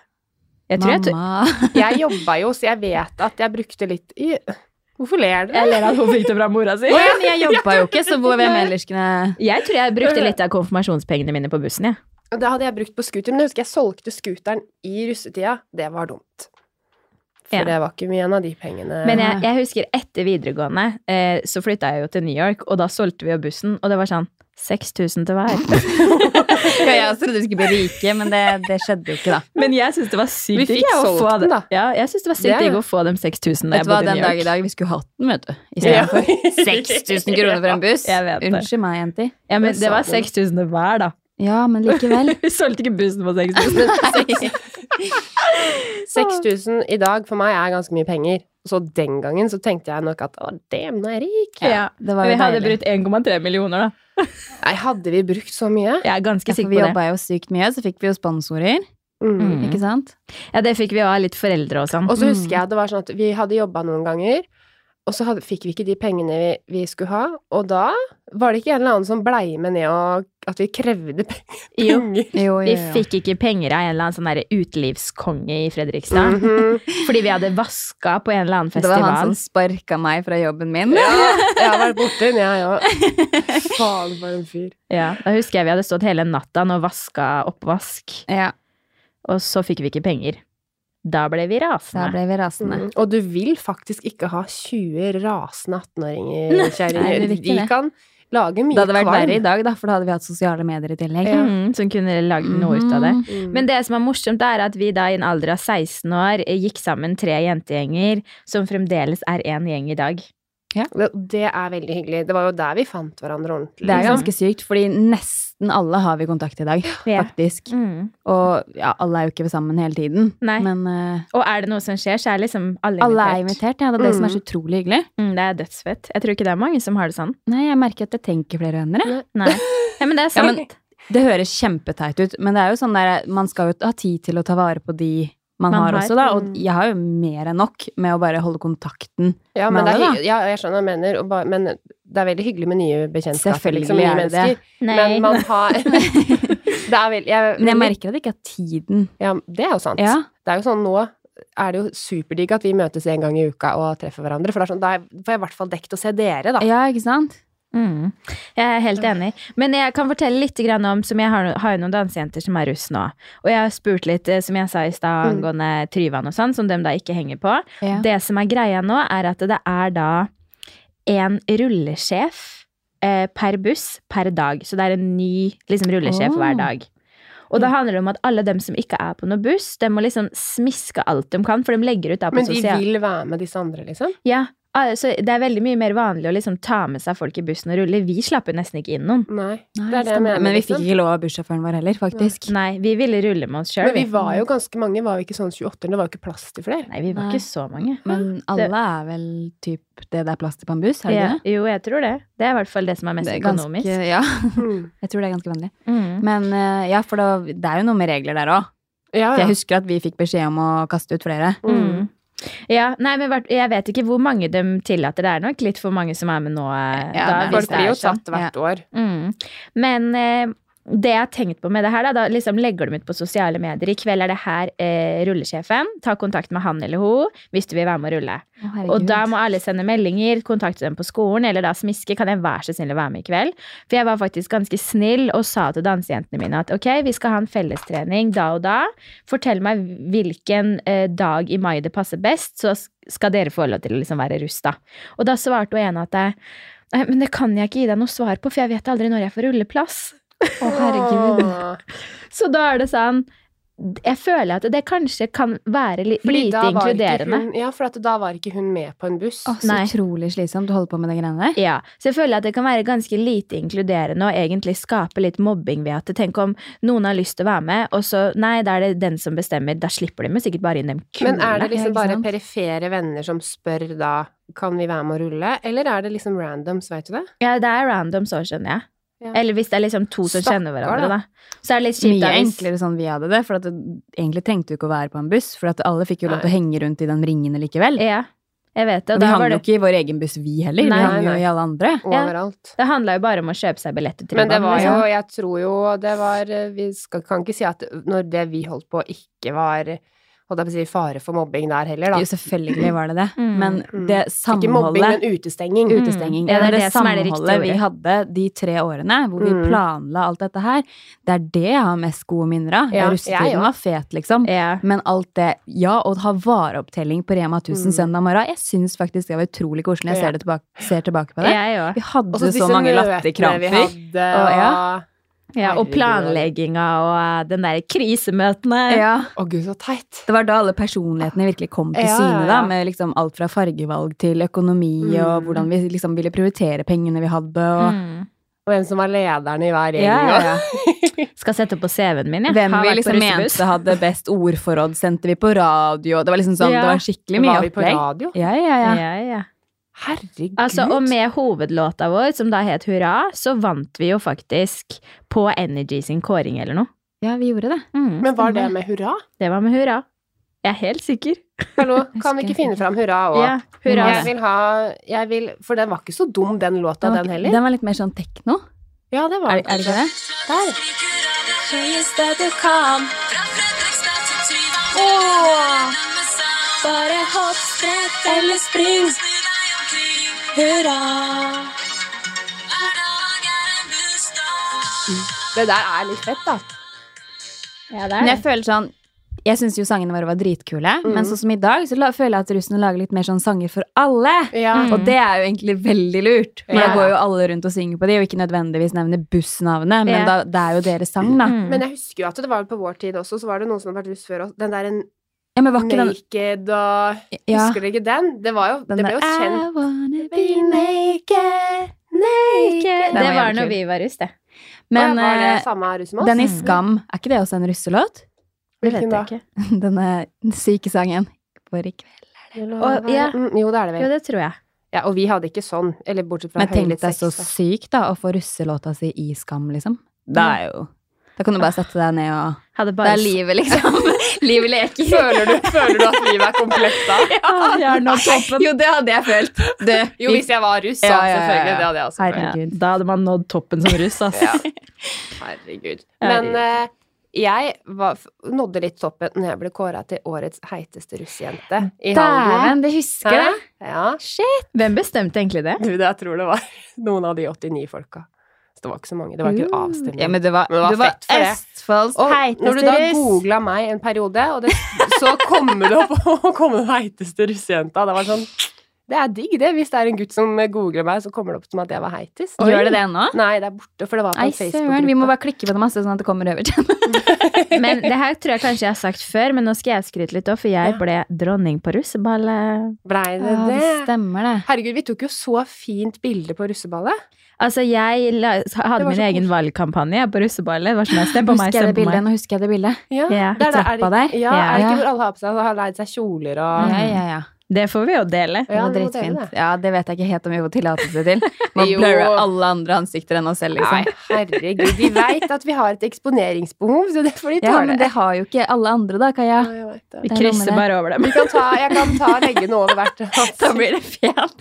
Jeg tror jeg,
Mamma.
*laughs* Jeg jobba jo, så jeg vet at jeg brukte litt i Hvorfor ler dere?
jeg ler at hun fikk det fra mora si.
Å ja, *laughs* men jeg jobba jo ikke, så hvor, hvem ellers kunne
Jeg tror jeg brukte litt av konfirmasjonspengene mine på bussen, jeg.
Og Det hadde jeg brukt på scooter, men jeg husker jeg solgte scooteren i russetida. Det var dumt. For
Ja.
det var ikke mye igjen av de pengene.
Men jeg, jeg husker etter videregående eh, så flytta jeg jo til New York, og da solgte vi jo bussen, og det var sånn 6000
*laughs*
til hver.
Ja, jeg også trodde vi skulle bli rike, men det, det skjedde jo ikke, da.
Men jeg syns det var
Vi
sykt
fikk
digg å
solgt
få
den,
det.
da.
Ja, jeg synes det
Det
var
er
sykt digg
det.
å få de 6000 da
Vet
jeg
du hva,
bodde i
den
New
dag i
York.
dag, vi skulle hatt den, vet du.
Ja.
*laughs* Istedenfor 6000 kroner
*laughs*
for en buss.
Jeg vet det.
Unnskyld meg, jenter.
Ja, men det var
sa den.
6000 til hver, da. *laughs*
Ja, men *laughs* likevel.
Vi solgte ikke bussen på 6000.
Nei.
*laughs*
6000 i dag for meg er ganske mye penger. Så den gangen så tenkte jeg nok at å, damn, nå er jeg rik.
Ja,
Det var
Vi
jo
hadde
deilig.
brukt 1,3 millioner, da.
Nei, hadde vi brukt så mye?
Jeg er
Ja,
ganske
for
sikker
vi
på det.
jobba jo sykt mye, så fikk vi jo sponsorer.
Mm.
Mm.
Ikke sant?
Ja, det fikk vi jo av litt foreldre og sånn.
Og så husker jeg at det var sånn at vi hadde jobba noen ganger, og så hadde, fikk vi ikke de pengene vi, vi skulle ha, og da var det ikke en eller annen som blei med ned og at vi krevde *laughs* pe-
Jo,
penger.
Jo, jo,
vi
jo.
fikk ikke penger av en eller annen sånn der utelivskonge i Fredrikstad. *laughs*
Mhm.
Fordi vi hadde vaska på en eller annen
Det var han som
festival.
sparka meg fra jobben min.
Jeg har vært borti den, jeg
*laughs*
òg. Faen, for en fyr.
Ja, da husker jeg vi hadde stått hele natta og vaska oppvask.
Ja,
Og så fikk vi ikke penger. Da ble vi
da
rasende.
ble vi rasende.
Mm. Og du vil faktisk ikke ha 20 rasende 18-åringer,
nei, det
kjerringer.
vil ikke
De
det.
kan Lager mye
Det hadde vært
kvalm.
verre i dag, da, for da hadde vi hatt sosiale medier i tillegg.
Ja.
Mm, som kunne lagd noe ut av det.
Mhm.
Mm.
Men det som er morsomt, er at vi da i en alder av 16 år eh, gikk sammen tre jentegjenger, som fremdeles er én gjeng i dag.
det, det er veldig hyggelig. Det var jo der vi fant hverandre ordentlig.
Det er
liksom.
ganske sykt, fordi nesten alle har vi kontakt i dag, faktisk.
Mm.
Og ja, alle er jo ikke sammen hele tiden,
Nei.
men eh,
Og er det noe som skjer, så er liksom alle invitert.
alle er invitert. Ja, det er det som er så utrolig hyggelig.
Mm, det er dødsfett. Jeg tror ikke det er mange som har det sånn.
Nei, jeg merker at jeg tenker flere venner. jeg.
Nei, Nei men det er
Ja,
sant.
men- Det høres kjempeteit ut, men det er jo sånn der, man skal jo ha tid til å ta vare på de man,
Man
har,
har.
også, da. Og
Mm.
jeg har jo mer enn nok med å bare holde kontakten.
Ja,
med
men det er,
alle,
hygg- ja, jeg skjønner hva du mener, og bare, men det er veldig hyggelig med nye bekjentskaper.
Selvfølgelig
Liksom, nye
er det det.
mennesker.
Nei.
Men man
*laughs*
har *laughs* Det er veldig jeg,
Men jeg merker at jeg ikke har tiden.
Ja, det er jo sant.
Ja.
Det er jo sånn nå er det jo superdigg at vi møtes en gang i uka og treffer hverandre. For det er sånn, da er- får jeg i hvert fall dekt å se dere, da.
ja, ikke sant?
*laughs* Mm. Jeg er helt enig. Men jeg kan fortelle litt grann om som jeg har, har jo noen dansejenter som er russ nå. Og jeg har spurt litt, eh, som jeg sa i stad,
Mm.
angående Tryvann og sånn, som de da ikke henger på.
Ja.
Det som er greia nå, er at det er da en rullesjef eh, per buss per dag. Så det er en ny liksom, rullesjef
Åh.
hver dag. Og da handler det om at alle dem som ikke er på noen buss, de må liksom smiske alt de kan, for de legger ut da på
Men de
sosial...
vil være med disse andre, liksom.
Ja, altså, det er veldig mye mer vanlig å liksom ta med seg folk i bussen og rulle. Vi slapp jo nesten ikke inn noen.
Nei,
Nei,
det er det jeg
stemmer.
mener.
Men vi
liksom.
fikk ikke lov av bussjåføren vår heller, faktisk.
Nei, vi ville rulle med oss sjøl.
Men vi var jo ganske mange, var vi ikke sånn 28, det var jo ikke plass til flere.
Nei, vi var
Nei.
ikke så mange.
Men alle er vel typ det det er plass til på en buss, er det
Ja,
ikke det?
jo, jeg tror det. Det er i hvert fall det som er mest
Det er
økonomisk.
ganske, ja,
Mm.
jeg tror det er ganske vanlig.
Mm.
Men eh, ja, for da, det er jo noe med regler der òg.
Ja, ja.
Jeg husker at vi fikk beskjed om å kaste ut flere.
Mm. Ja, nei, men hvert- Jeg vet ikke hvor mange de tillater. Det er nok litt for mange som er med nå. eh,
Ja,
da,
det er
hvis
Folk
det
blir
er
jo
sånn.
tatt hvert år.
Mm. Men eh, det jeg har tenkt på med det her, da, da liksom legger de ut på sosiale medier. I kveld er det her eh, rullesjefen. Ta kontakt med han eller hun hvis du vil være med å rulle. Og da må alle sende meldinger, kontakte dem på skolen, eller da smiske. Kan jeg være så snill å være med i kveld? For jeg var faktisk ganske snill og sa til dansejentene mine at ok, vi skal ha en fellestrening da og da. Fortell meg hvilken eh, dag i mai det passer best, så s- skal dere få lov til å liksom være russ, da. Og da svarte hun ene at jeg «Nei, men det kan jeg ikke gi deg noe svar på, for jeg vet aldri når jeg får rulleplass.
Å, herregud.
Åh.
Så da er det sånn Jeg føler at det kanskje kan være li
Fordi
lite
da var ikke
inkluderende.
Hun, ja, for at da var ikke hun med på en buss.
Å, så
Nei.
utrolig slitsomt å holde på med de greiene der.
Ja, så jeg føler at det kan være ganske lite inkluderende og egentlig skape litt mobbing ved at tenk om noen har lyst til å være med, og så nei, da er det den som bestemmer, da slipper de jo sikkert bare inn dem
Men er det
kulene.
liksom
ikke
bare
sant?
perifere venner som spør da kan vi være med å rulle, eller er det liksom randoms, veit du det?
Ja, det er random, så skjønner jeg.
Ja.
Eller hvis det er liksom to som
Stakkar,
kjenner hverandre,
da.
da. Så er det litt kjipt
Mye
da hvis
enklere sånn vi hadde det, for at det, egentlig trengte du ikke å være på en buss, for at alle fikk jo lov til å henge rundt i den ringene likevel.
Ja, jeg vet det. Og
vi
da
hang
var
jo
det
ikke i vår egen buss, vi heller.
Nei,
vi hang jo
nei.
i alle andre.
Overalt.
det handla jo bare om å kjøpe seg billetter til
Men det
banen,
var jo,
liksom.
jeg tror jo det var eh, Vi skal, kan ikke si at når det vi holdt på, ikke var holdt jeg på å si, fare for mobbing der heller,
Jo,
da.
selvfølgelig var det det.
Mm.
Men det
Ikke mobbing,
samholdet
men utestenging.
Mm.
Utestenging.
Ja, det er
det,
det som er det riktige
samholdet vi
ordet.
hadde de tre årene hvor vi
Mm.
planla alt dette her, det er det jeg har mest gode minner av.
Ja,
Ja,
jeg
Russetiden
også.
var fet, liksom.
Ja.
Men alt det Ja, å ha vareopptelling på Rema 1000
Mm.
søndag morgen, jeg syns faktisk det var utrolig koselig. Jeg
Ja.
ser, det tilbake, ser tilbake på det.
Jeg òg.
Vi hadde
Og
så
så disse
mange
møtene vi
latterkramper.
hadde,
Å,
og
ja.
Ja, og
Herregud.
planlegginga og eh, den der krisemøtene.
Ja.
Å gud, så teit.
Det var da alle personlighetene virkelig kom til
Ja, ja,
syne, da,
ja.
med liksom alt fra fargevalg til økonomi
Mm.
og hvordan vi liksom ville prioritere pengene vi hadde. Og,
Mm.
Og hvem som var lederen i hver gjeng.
ja, ja,
og-
ja.
Skal sette opp på CV-en min, jeg.
Hvem
Har
vi
vært på
liksom
russebuss.
mente hadde best ordforråd, sendte vi på radio. Det var liksom sånn,
Ja.
det var skikkelig mye
Var vi på
opplegg.
radio?
Ja, ja, ja.
Ja, ja.
Herregud.
Altså, og med hovedlåta vår, som da het Hurra, så vant vi jo faktisk på Energy sin kåring eller noe.
Ja, vi gjorde det.
Mm.
Men var det med hurra?
Det var med Hurra. Jeg er helt sikker.
Hallo,
Husker
kan vi ikke
jeg
finne
ikke.
fram hurra òg?
Ja, hurra.
Jeg vil ha jeg vil, For den var ikke så dum, den låta, den
var,
heller.
den var litt mer sånn tekno.
Ja, det var
Er, er det ikke det?
Der.
Høyeste du kan. Fra Fredrikstad til Tryvann. Bare hopp, sprett eller spring. Snu deg omkring. Hurra. Hver dag er en bursdag.
Det der er litt fett, da.
Ja, det
Men jeg føler sånn Jeg syns jo sangene våre var dritkule, men sånn som i dag så la, føler jeg at russen lager litt mer sånn sanger for alle.
Ja.
Mm.
Og det er jo egentlig veldig lurt. For
Ja.
da går jo alle rundt og synger på de, og ikke nødvendigvis nevner bussnavnet, men
Ja.
da, det er jo deres sang, da.
Mm.
Men jeg husker jo at det var på vår tid også, så var det noen som hadde vært russ før oss. Den der en
Ja, men var ikke den
naked og
ja,
Husker dere ikke den? Det, var jo,
den
det ble jo
der,
kjent.
I wanna be naked. Den var
Ikke- Det var
jævlig
når
kul.
vi var russ, det.
Men
Men, var det
eh,
samme russ med oss?
den i
Mm.
Skam, er ikke det også en russelåt? *laughs*
Det
Hvilken
vet
da?
jeg ikke.
Denne syke sangen. For i kveld.
Og- ja.
Mm, Jo, det er det
Jo,
vel.
det tror jeg.
Ja, og vi hadde ikke sånn. Eller bortsett fra
Men tenk
høylytt
deg
sex.
så
da.
sykt, da, å få russelåta si i Skam, liksom. Det er jo Da kan du bare sette deg ned og
Hadde
Det
bare
er
*laughs*
livet,
*laughs*
liksom. livet leker.
Føler du, føler du at livet er komplett da?
Å, vi er nå
*laughs*
toppen.
Jo, det hadde jeg følt. Det,
Jo, hvis jeg var russ, så
Ja, ja, ja, ja.
selvfølgelig. Det hadde jeg også. følt.
Ja,
Herregud.
da hadde man nådd toppen som russ, altså.
Herregud.
Herregud.
Men eh, jeg var, f- nådde litt toppen når jeg ble kåra til årets heiteste russejente i Halden.
Dæven, det husker jeg.
Ja.
*laughs* Hvem bestemte egentlig det?
Du, det jeg tror det var *laughs* noen av de 89 folka. Så det var ikke så mange. Det var ikke en avstemning.
Mm. Ja, men det var,
Men det var
det var
fett for det.
Østfolds
og når du da
heiteste russ.
googla meg en periode, og det, så kommer det opp *laughs* kommer den heiteste russejenta. Det var sånn Det er digg, det. Hvis det er en gutt som googler meg, så kommer det opp som at jeg var heitest.
Gjør det det nå?
Nei, det er borte, for det var på
Nei,
en
søren. Vi må
Facebook-gruppe.
bare klikke på det masse, sånn at det kommer over.
Men det her tror jeg kanskje jeg har sagt før, men nå skal jeg skryte litt òg, for jeg ble dronning på eh, russeballet.
Blei det
Ja, det
det?
stemmer, det.
Herregud, vi tok jo så fint bilde på russeballet.
Altså, jeg la,
Det
hadde
var
min
så
egen
koselig.
valgkampanje på russeballet. Det var sånn, stem på meg,
Husker jeg
stem
det
på
bildet?
meg.
Nå husker jeg det bildet.
Ja,
Ja,
i
det er det- er det-
trappa der.
Ja,
Ja.
er det ikke
Ja.
hvor alle har på seg, har leid seg kjoler og
Ja, ja, ja.
Det får vi jo dele.
Det var
Ja, vi må dele
dritfint.
det.
Ja, det vet jeg ikke helt om vi får tillatelse *laughs* til. Man
Jo.
blurrer alle andre ansikter enn oss selv,
Nei,
liksom.
herregud, vi veit at vi har et eksponeringsbehov, så det får de
Ja,
tåle.
men det har jo ikke alle andre, da, Kaja.
Ja, jeg vet det.
Vi
Det er noe med
krysser
det.
bare over dem.
Vi kan ta, jeg kan ta leggene over hvert. ansikt.
Da blir *laughs* det fint.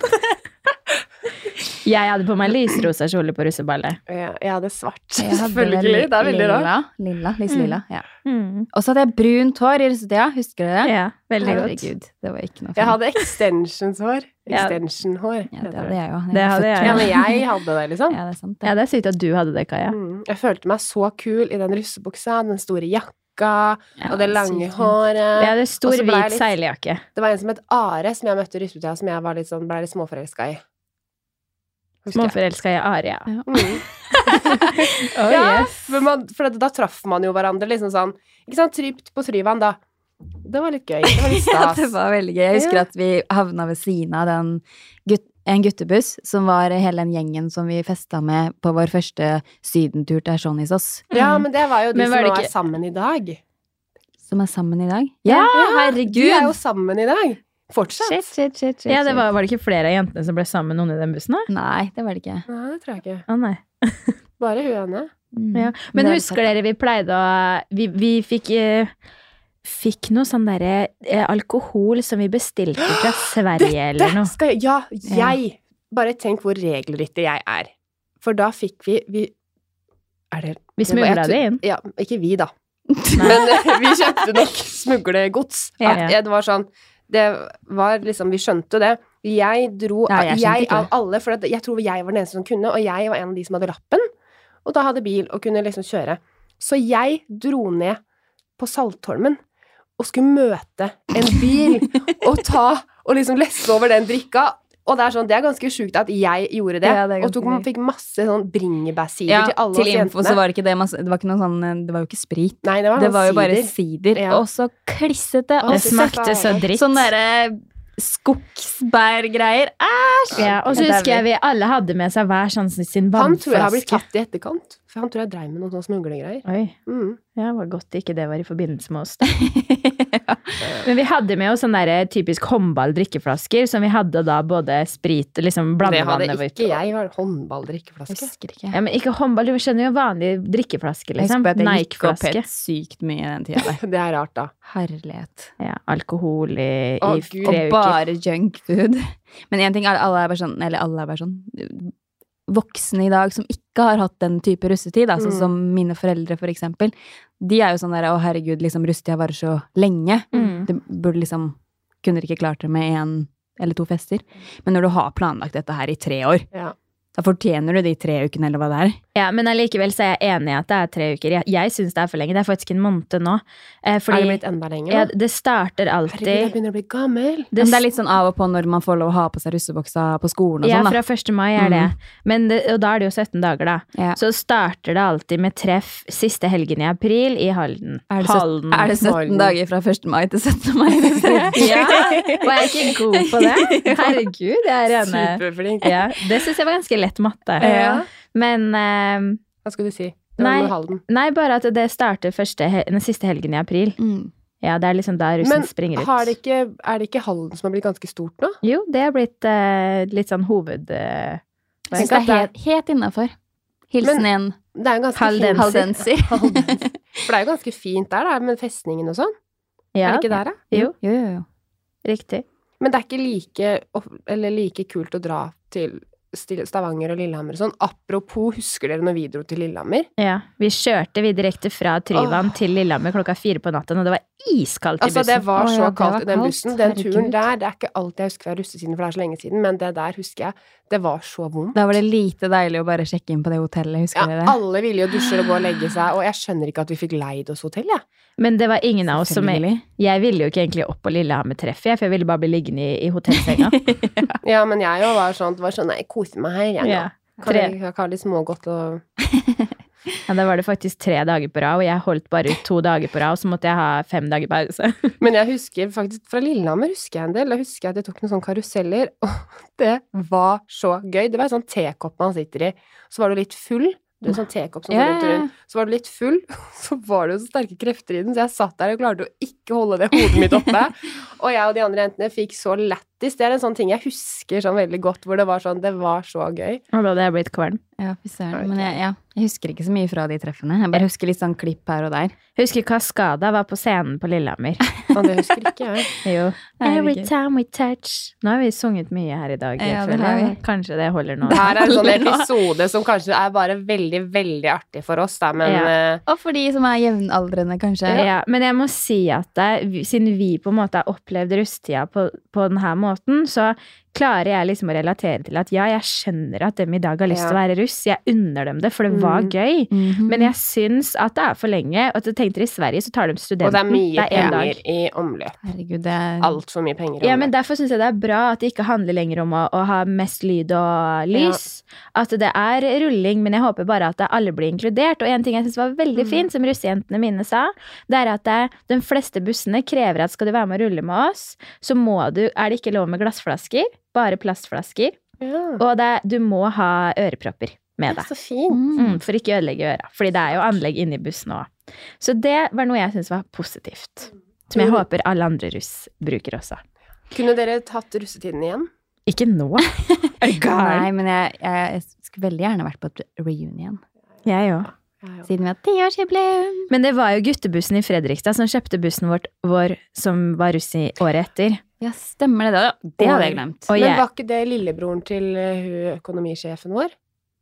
Jeg hadde på meg lysrosa kjole på russeballet.
Ja, jeg hadde svart, selvfølgelig. Det er veldig rart.
Lilla, lilla, lyselilla. Ja.
Mm.
Og så hadde jeg brunt hår i russetida. Husker du det?
Ja, veldig godt.
Herregud, det var ikke noe
Jeg
fint.
hadde extensionshår.
Ja.
Extensionhår.
Ja,
heter
det hadde
det.
jeg jo.
Det hadde jeg.
Ja, men jeg hadde det, liksom.
Ja, det er sant.
Ja,
Det.
det er sykt at du hadde det, Kaja.
Mm. Jeg følte meg så kul i den russebuksa, den store jakka
Ja,
og det
sykt fint.
lange
Jeg
håret.
hadde
Og
stor,
så ble jeg
hvit
litt-
seiljakke.
Det var en som het Are, som jeg møtte i russebuksa, som jeg var litt sånn, ble litt småforelska i. Husker jeg.
Småforelska i Aria.
*laughs*
Mm.
Oh,
ja,
yes.
for, man, for da traff man jo hverandre liksom sånn Ikke sant, trypt på Tryvann da. Det var litt gøy. Det var litt
*laughs* Ja,
stas.
det var veldig gøy. Jeg husker
Ja.
at vi havna ved siden av den gut en guttebuss som var hele den gjengen som vi festa med på vår første sydentur til Asjonissos,
Ja, men det var jo de
Mm. Men var
som
det
nå
ikke-
er sammen i dag.
som er sammen i dag. Ja,
De
herregud!
er jo sammen i dag. Fortsatt.
Shit, shit, shit, shit,
Ja, det
shit.
var, var det ikke flere av jentene som ble sammen med noen i den bussen? da?
Nei, det var det ikke.
Nei, det tror jeg ikke.
Å nei.
Bare hun ene.
Mm.
Ja. Men
Det er
husker dere vi pleide å Vi, vi fikk eh, Fikk noe sånn derre eh, alkohol som vi
*gasps*
bestilte fra Sverige
Det
eller noe.
skal jeg Ja, jeg! Bare tenk hvor regelrytter jeg er. For da fikk vi, vi Er det
Vi smugla
jeg
det
tror-
inn.
Ja, ikke vi, da.
Nei.
Men eh, vi kjøpte nok smuglegods.
Ja.
At jeg- Det var sånn Det var liksom Vi skjønte det. Jeg dro
Nei, jeg
jeg,
skjønte ikke
av
det.
alle, for at jeg tror jeg var den eneste som kunne, og jeg var en av de som hadde lappen, og da hadde bil og kunne liksom kjøre. Så jeg dro ned på Saltholmen og skulle møte
*laughs*
en bil og ta og liksom lesse over den drikka. Og det er sånn, det er ganske sjukt at jeg gjorde det,
Ja, det er
og tok,
ganske sykt.
fikk masse sånn bringebærsider
Ja,
til alle
til
oss
info så
jentene.
var det ikke det masse, Det var ikke noe sånn eh, Det var jo ikke sprit.
Nei, det var,
Det var jo bare
sider.
sider.
Ja.
Og så klissete
Å,
Det
og
fy
smakte så
faen.
dritt.
Sånn derre skogsbærgreier. Ah! Æsj!
Ja, og så husker jeg vi alle hadde med seg hver sånn sin vannflaske.
Han tror jeg har blitt tatt i etterkant. For han tror jeg dreiv med noen sånne smuglergreier.
Oi.
Mm.
Ja, det var godt ikke det var i forbindelse med
*laughs*
oss. Da. Men vi hadde med oss sånne der typisk håndball-drikkeflasker, som vi hadde da både sprit liksom
Det hadde
blandevannet vårt.
ikke jeg. Var håndballdrikkeflaske.
Husker ikke.
Ja, men ikke håndball, du skjønner jo vanlig drikkeflaske,
Jeg
liksom.
husker at jeg gikk opp
Nike-flaske.
helt sykt mye den tida der.
*laughs* Det er rart, da.
*laughs* Herlighet.
Ja, alkohol i,
Å,
i
Gud.
tre
Og
uker.
bare junkfood. Men én ting er alle er bare sånn Eller alle er bare sånn Voksne i dag som ikke har hatt den type russetid, altså
Mm.
som mine foreldre for eksempel, de er jo sånn der 'Å, herregud, liksom, russetida varer så lenge'.
Mm.
Det burde liksom Kunne dere ikke klart det med én eller to fester? Men når du har planlagt dette her i tre år,
Ja.
Da fortjener du de tre ukene, eller hva det er.
Ja, Men allikevel så er jeg enig i at det er tre uker. Jeg, jeg syns det er for lenge. Det er faktisk en måned nå. Eh, fordi
er det blitt enda lenger?
ja,
nå?
det starter
Herregud, jeg
alltid
begynner å bli gammel.
Det, det er litt sånn av og på når man får lov å ha på seg russebuksa på skolen og
Ja,
sånn,
fra
da.
1. mai er det. Men det. Og da er det jo 17 dager, da.
Ja.
Så starter det alltid med treff siste helgen i april i Halden.
Er det, 17,
Mm.
Halden.
er det 17 dager fra 1. mai til 17. *laughs* mai?
Ja! Var jeg ikke god på
*laughs*
det? Herregud, jeg er rene
Superflink.
ja, Det syns jeg var ganske lett matte.
Ja.
Men eh,
Hva skulle du si? Det var
Nei.
med Halden.
Nei, bare at det starter første, he- den siste helgen i april.
Mm.
Ja, det er liksom da russen
Men
springer ut.
Har det ikke, er det ikke Halden som har blitt ganske stort nå?
Jo, det er blitt eh, litt sånn hoved... eh,
Jeg syns det er helt, helt innafor. Hilsen en
Det er jo ganske
Haldenser.
fint.
*laughs* haldenser.
Haldenser. *laughs* For det er jo ganske fint der, da, med festningen og sånn.
ja,
Er det ikke der, da?
Jo,
Jo, jo, jo.
riktig.
Men det er ikke like, off- eller like kult å dra til Stil- Stavanger og Lillehammer og sånn. Apropos, husker dere når vi dro til Lillehammer?
Ja, vi kjørte vi direkte fra Tryvann
Åh.
til Lillehammer klokka fire på natten, og det var iskaldt i
Altså,
bussen.
det var
Å,
så
ja, det var
kaldt i den
kaldt.
bussen. Den turen
Herregud.
der, det er ikke alt jeg husker fra russesiden, for det er så lenge siden, men det der husker jeg. Det var så vondt.
Da var det lite deilig å bare sjekke inn på det hotellet,
Ja,
husker dere det?
alle ville jo dusje og gå og legge seg, og jeg skjønner ikke at vi fikk leid oss hotell, jeg.
Men det var ingen av oss som
Selvfølgelig.
Jeg ville jo ikke egentlig opp på Lillehammer-treffet, jeg, for jeg ville bare bli liggende i, i
*laughs*
hotellsenga.
Ja, men jeg jo var sånn, det var sånn, nei, jeg koser meg her, jeg nå.
ja.
Kan
tre.
jeg ikke ha litt smågodt og
ja, Da var det faktisk tre dager på rad, og jeg holdt bare ut to dager på rad, og så måtte jeg ha fem dager pause. *laughs*
Men jeg husker faktisk fra Lillehammer husker jeg en del. Da husker jeg at jeg tok noen sånne karuseller, *laughs* og det var så gøy. Det var en sånn tekopp man sitter i. Så var du litt full. Du er en sånn tekopp som går
Ja,
rundt og
ja, ja.
rundt. Så var du litt full, *laughs* så var det jo så sterke krefter i den, så jeg satt der og klarte å ikke holde det hodet mitt oppe.
*laughs*
Og jeg og de andre jentene fikk så lættis. Det er en sånn ting jeg husker sånn veldig godt, hvor det var sånn Det var så gøy.
Og da hadde jeg blitt kvalm.
Ja, fy
Jeg vet
søren. Men jeg, ja, jeg husker ikke så mye fra de treffene. Jeg bare husker litt sånn klipp her og der.
Jeg husker Kaskada var på scenen på Lillehammer.
Og det husker ikke
*laughs*
jeg.
Jo.
Herregud.
Every time we touch. Nå har vi sunget mye her i dag. jeg
Ja, det
føler
har vi.
jeg. Kanskje det holder nå.
Det her er en sånn episode som kanskje er bare veldig, veldig artig for oss, da, men
Ja.
eh,
Og for de som er jevnaldrende, kanskje.
Ja, men jeg må si at det, vi- siden vi på en måte har opplevd rusttida på, på denne måten, så klarer jeg liksom å relatere til at ja, jeg skjønner at dem i dag har lyst til å være russ. Jeg unner dem det, for det var
Mm.
gøy.
Mhm.
Men jeg syns at det er for lenge. Og at jeg tenkte i Sverige så tar de studenten.
Og det er mye penger
en dag.
i omløp.
Herregud, det er
Altfor mye penger. i
Ja, men
omløp.
Derfor syns jeg det er bra at det ikke handler lenger om å, å ha mest lyd og lys. At det er rulling, men jeg håper bare at alle blir inkludert. Og en ting jeg syns var veldig fint, som russejentene mine sa, det er at det, de fleste bussene krever at skal du være med å rulle med oss, så må du, er det ikke lov med glassflasker, bare plastflasker.
ja. sånn.
Og det, du må ha ørepropper med deg.
Så fint.
Mm, for ikke å ødelegge øra. Fordi det er jo anlegg inni bussen òg. Så det var noe jeg syns var positivt. Som jeg håper alle andre russ bruker også.
Kunne dere tatt russetiden igjen?
Ikke nå. Er du
Nei, men jeg, jeg, jeg skulle veldig gjerne vært på et reunion.
Jeg òg.
Siden vi har tiårsjubileum.
Men det var jo guttebussen i Fredrikstad som kjøpte bussen vårt, vår som var russ i året etter.
Ja, stemmer det. Det, det hadde jeg glemt.
Og
Men
jeg
var ikke det lillebroren til eh, hun økonomisjefen vår?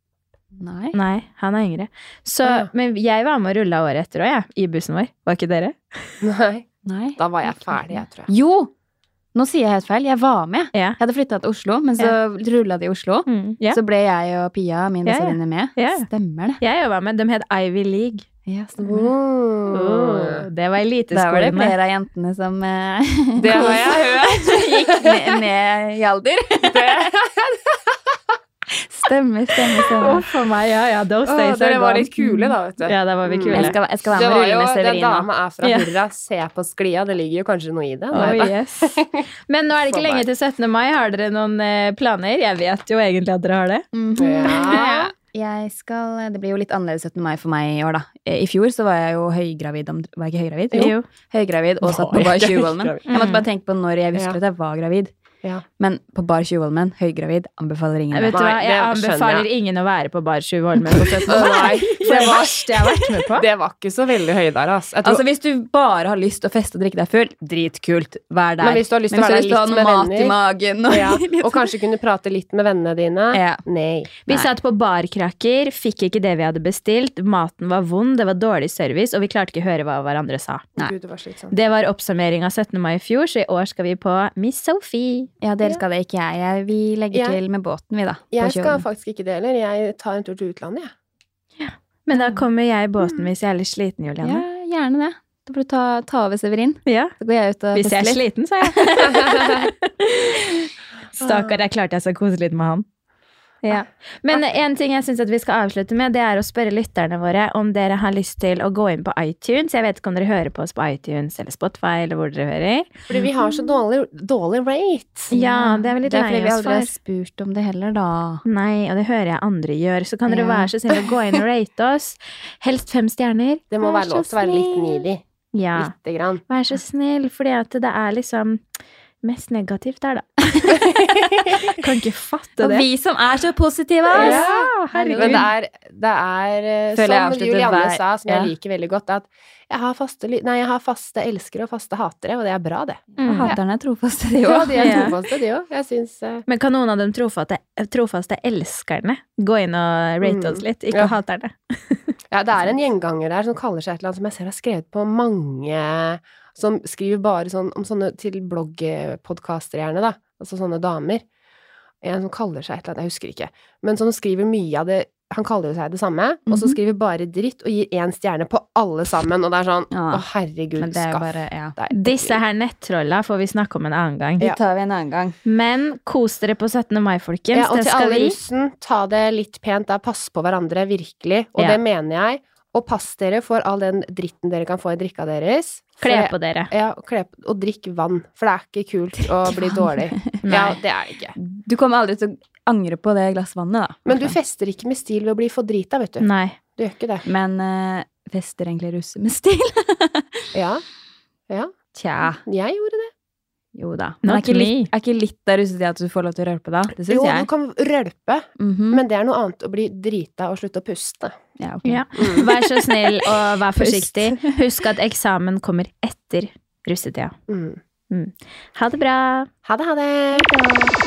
*laughs*
Nei.
Nei, han er yngre. Så,
Å, ja.
Men jeg var med og rulla året etter òg, jeg. I bussen vår. Var ikke dere?
Nei.
Nei.
Da var jeg ferdig, jeg, tror jeg.
Jo! Nå sier jeg helt feil. Jeg var med.
Ja.
Jeg hadde flytta til Oslo, men så rulla det i Oslo.
Mm.
ja.
Så ble jeg og Pia, min
Ja, ja.
bestevenninne, med.
Ja, ja.
Stemmer det.
Jeg var med. De het Ivy League.
Ja, stemmer det.
Åh,
Mm.
det var
Der var det
eliteskolene.
flere av jentene som eh,
Det har jeg hørt.
gikk ned, ned i alder. Stemmer, stemmer,
Å,
stemmer.
for meg, ja, ja. Those
Å,
days are
dere var
gone.
litt kule, da, vet du.
Ja, da var vi
Mm.
kule.
Jeg skal, jeg skal være
Det
med og
var
rulle
jo,
med
Den
Severina.
dama er fra
Ja.
Hurra, se på sklia, det ligger jo kanskje noe i det.
Oh,
Nei, da.
yes. Men nå er det ikke
For meg.
lenge til 17. mai. Har dere noen eh, planer? Jeg vet jo egentlig at dere har det.
Ja.
Jeg skal, det blir jo litt annerledes 17. mai for meg i år, da. I fjor så var jeg jo høygravid om, Var jeg ikke høygravid? Høygravid og satt på
Var *laughs*
Bar
jeg
Tjuvholmen.
høygravid?
Jeg måtte bare tenke på når jeg husker
Ja.
at jeg var gravid.
Ja.
Men på Bar Tjuvholmen, høygravid, anbefaler ingen det.
Jeg, vet du hva,
Nei,
jeg
det skjønner
anbefaler ingen å være på Bar Tjuvholmen på 17. mai. Det er det verste jeg har vært med på.
altså. Det var ikke så veldig høy der, ass. Jeg tror-
Altså Hvis du bare har lyst til å feste og drikke deg full, dritkult. Vær der.
Men hvis du har lyst til å
Men
være
hvis du har
der litt
noe
med
mat i
venner
magen og *laughs* sånn.
ja. Og kanskje kunne prate litt med vennene dine.
Ja.
Nei.
Vi
Nei.
satt på barkrakker, fikk ikke det vi hadde bestilt, maten var vond, det var dårlig service, og vi klarte ikke å høre hva hverandre sa.
Nei.
Gud, det var slitsomt.
Det var oppsummering av 17. mai i fjor, så i år skal vi på Miss Sophie.
Ja, dere
Ja.
skal det, ikke jeg. jeg. Vi legger
Jeg-
til med båten, vi, da. på
Jeg skal
kjølen.
faktisk ikke det heller. Jeg tar en tur til utlandet, jeg.
Men da kommer jeg i båten hvis jeg er litt sliten,
Ja,
Juliane.
gjerne det. Da får du ta, ta over Severin.
Ja.
Så går jeg ut og
Hvis jeg er
fester litt.
sliten, sa *laughs* jeg. Stakkar, jeg klarte jeg så kose litt med han. Ja. Men en ting jeg synes at vi skal avslutte med, det er å spørre lytterne våre om dere har lyst til å gå inn på iTunes. Jeg vet ikke om dere hører på oss på iTunes eller Spotify eller hvor dere hører.
Fordi vi har
Ah.
så dårlig, dårlig rate.
Ja, det er vi litt
Det er fordi
lei
vi
oss
aldri har
for.
spurt om det heller, da.
Nei, og det hører jeg andre gjør. Så kan dere
Ja.
være så snille å gå inn og rate oss. Helst fem stjerner.
Det må
Vær
være lov
så
til å være litt
snill.
needy.
Ja.
Lite grann.
Vær så snill, fordi at det er liksom mest negativt der, da. kan ikke fatte
Og
det.
vi som er så positive! ass!
Ja,
Men det er, det er eh,
Føler jeg
som
avslutter
Julianne
hver-
sa, som
ja.
jeg liker veldig godt, at jeg har, faste, ly- nei, jeg har faste elskere og faste hatere, og det er bra, det.
Og
Mm.
Haterne er trofaste, de
Ja,
òg.
de er
Ja.
trofaste, de òg. Jeg syns eh,
Men kan noen av de trofaste, trofaste elskerne gå inn og rate oss litt? Ikke
Mm. Ja.
haterne.
Ja, det er en gjenganger der som kaller seg et eller annet som jeg ser har skrevet på mange Som skriver bare sånn om sånne til bloggpodkaster, gjerne, da. Altså sånne damer. En som kaller seg et eller annet, jeg husker ikke. Men som skriver mye av det Han kaller jo seg det samme, og så
Mhm.
skriver bare dritt og gir én stjerne på alle sammen, og det er sånn
Ja.
Å, herregud,
Men det er jo
skaff
bare ja.
deg
Disse her nettrolla får vi snakke om en annen gang.
Ja.
tar vi en annen gang.
Men kos dere på 17. mai, folkens.
Ja, og
det
til
skal
alle
vi.
russen, ta det litt pent da. Pass på hverandre, virkelig. Og
Ja.
det mener jeg. Og pass dere for all den dritten dere kan få i drikka deres. For
Kle
det-
på dere.
Ja, kle på Og drikk vann, for det er ikke kult å bli dårlig. Ja, det er det ikke.
Du kommer aldri til å angre på det glass vannet, da. Liksom.
Men du fester ikke med stil ved å bli for drita, vet du.
Nei.
Du gjør ikke det.
Men eh, fester egentlig russe med stil? *laughs*
Ja. Ja,
Tja,
jeg gjorde det.
jo da. Men er
Not
ikke,
me.
litt, er ikke litt av russetida at du får lov til å røre på da? Det syns
Jo, du
jeg.
kan rølpe,
Mhm.
men det er noe annet å bli drita og slutte å puste.
ja, ok.
Ja. Vær så snill og vær forsiktig. Husk at eksamen kommer etter russetida.
Mm.
Ha det bra.
Ha det, ha det!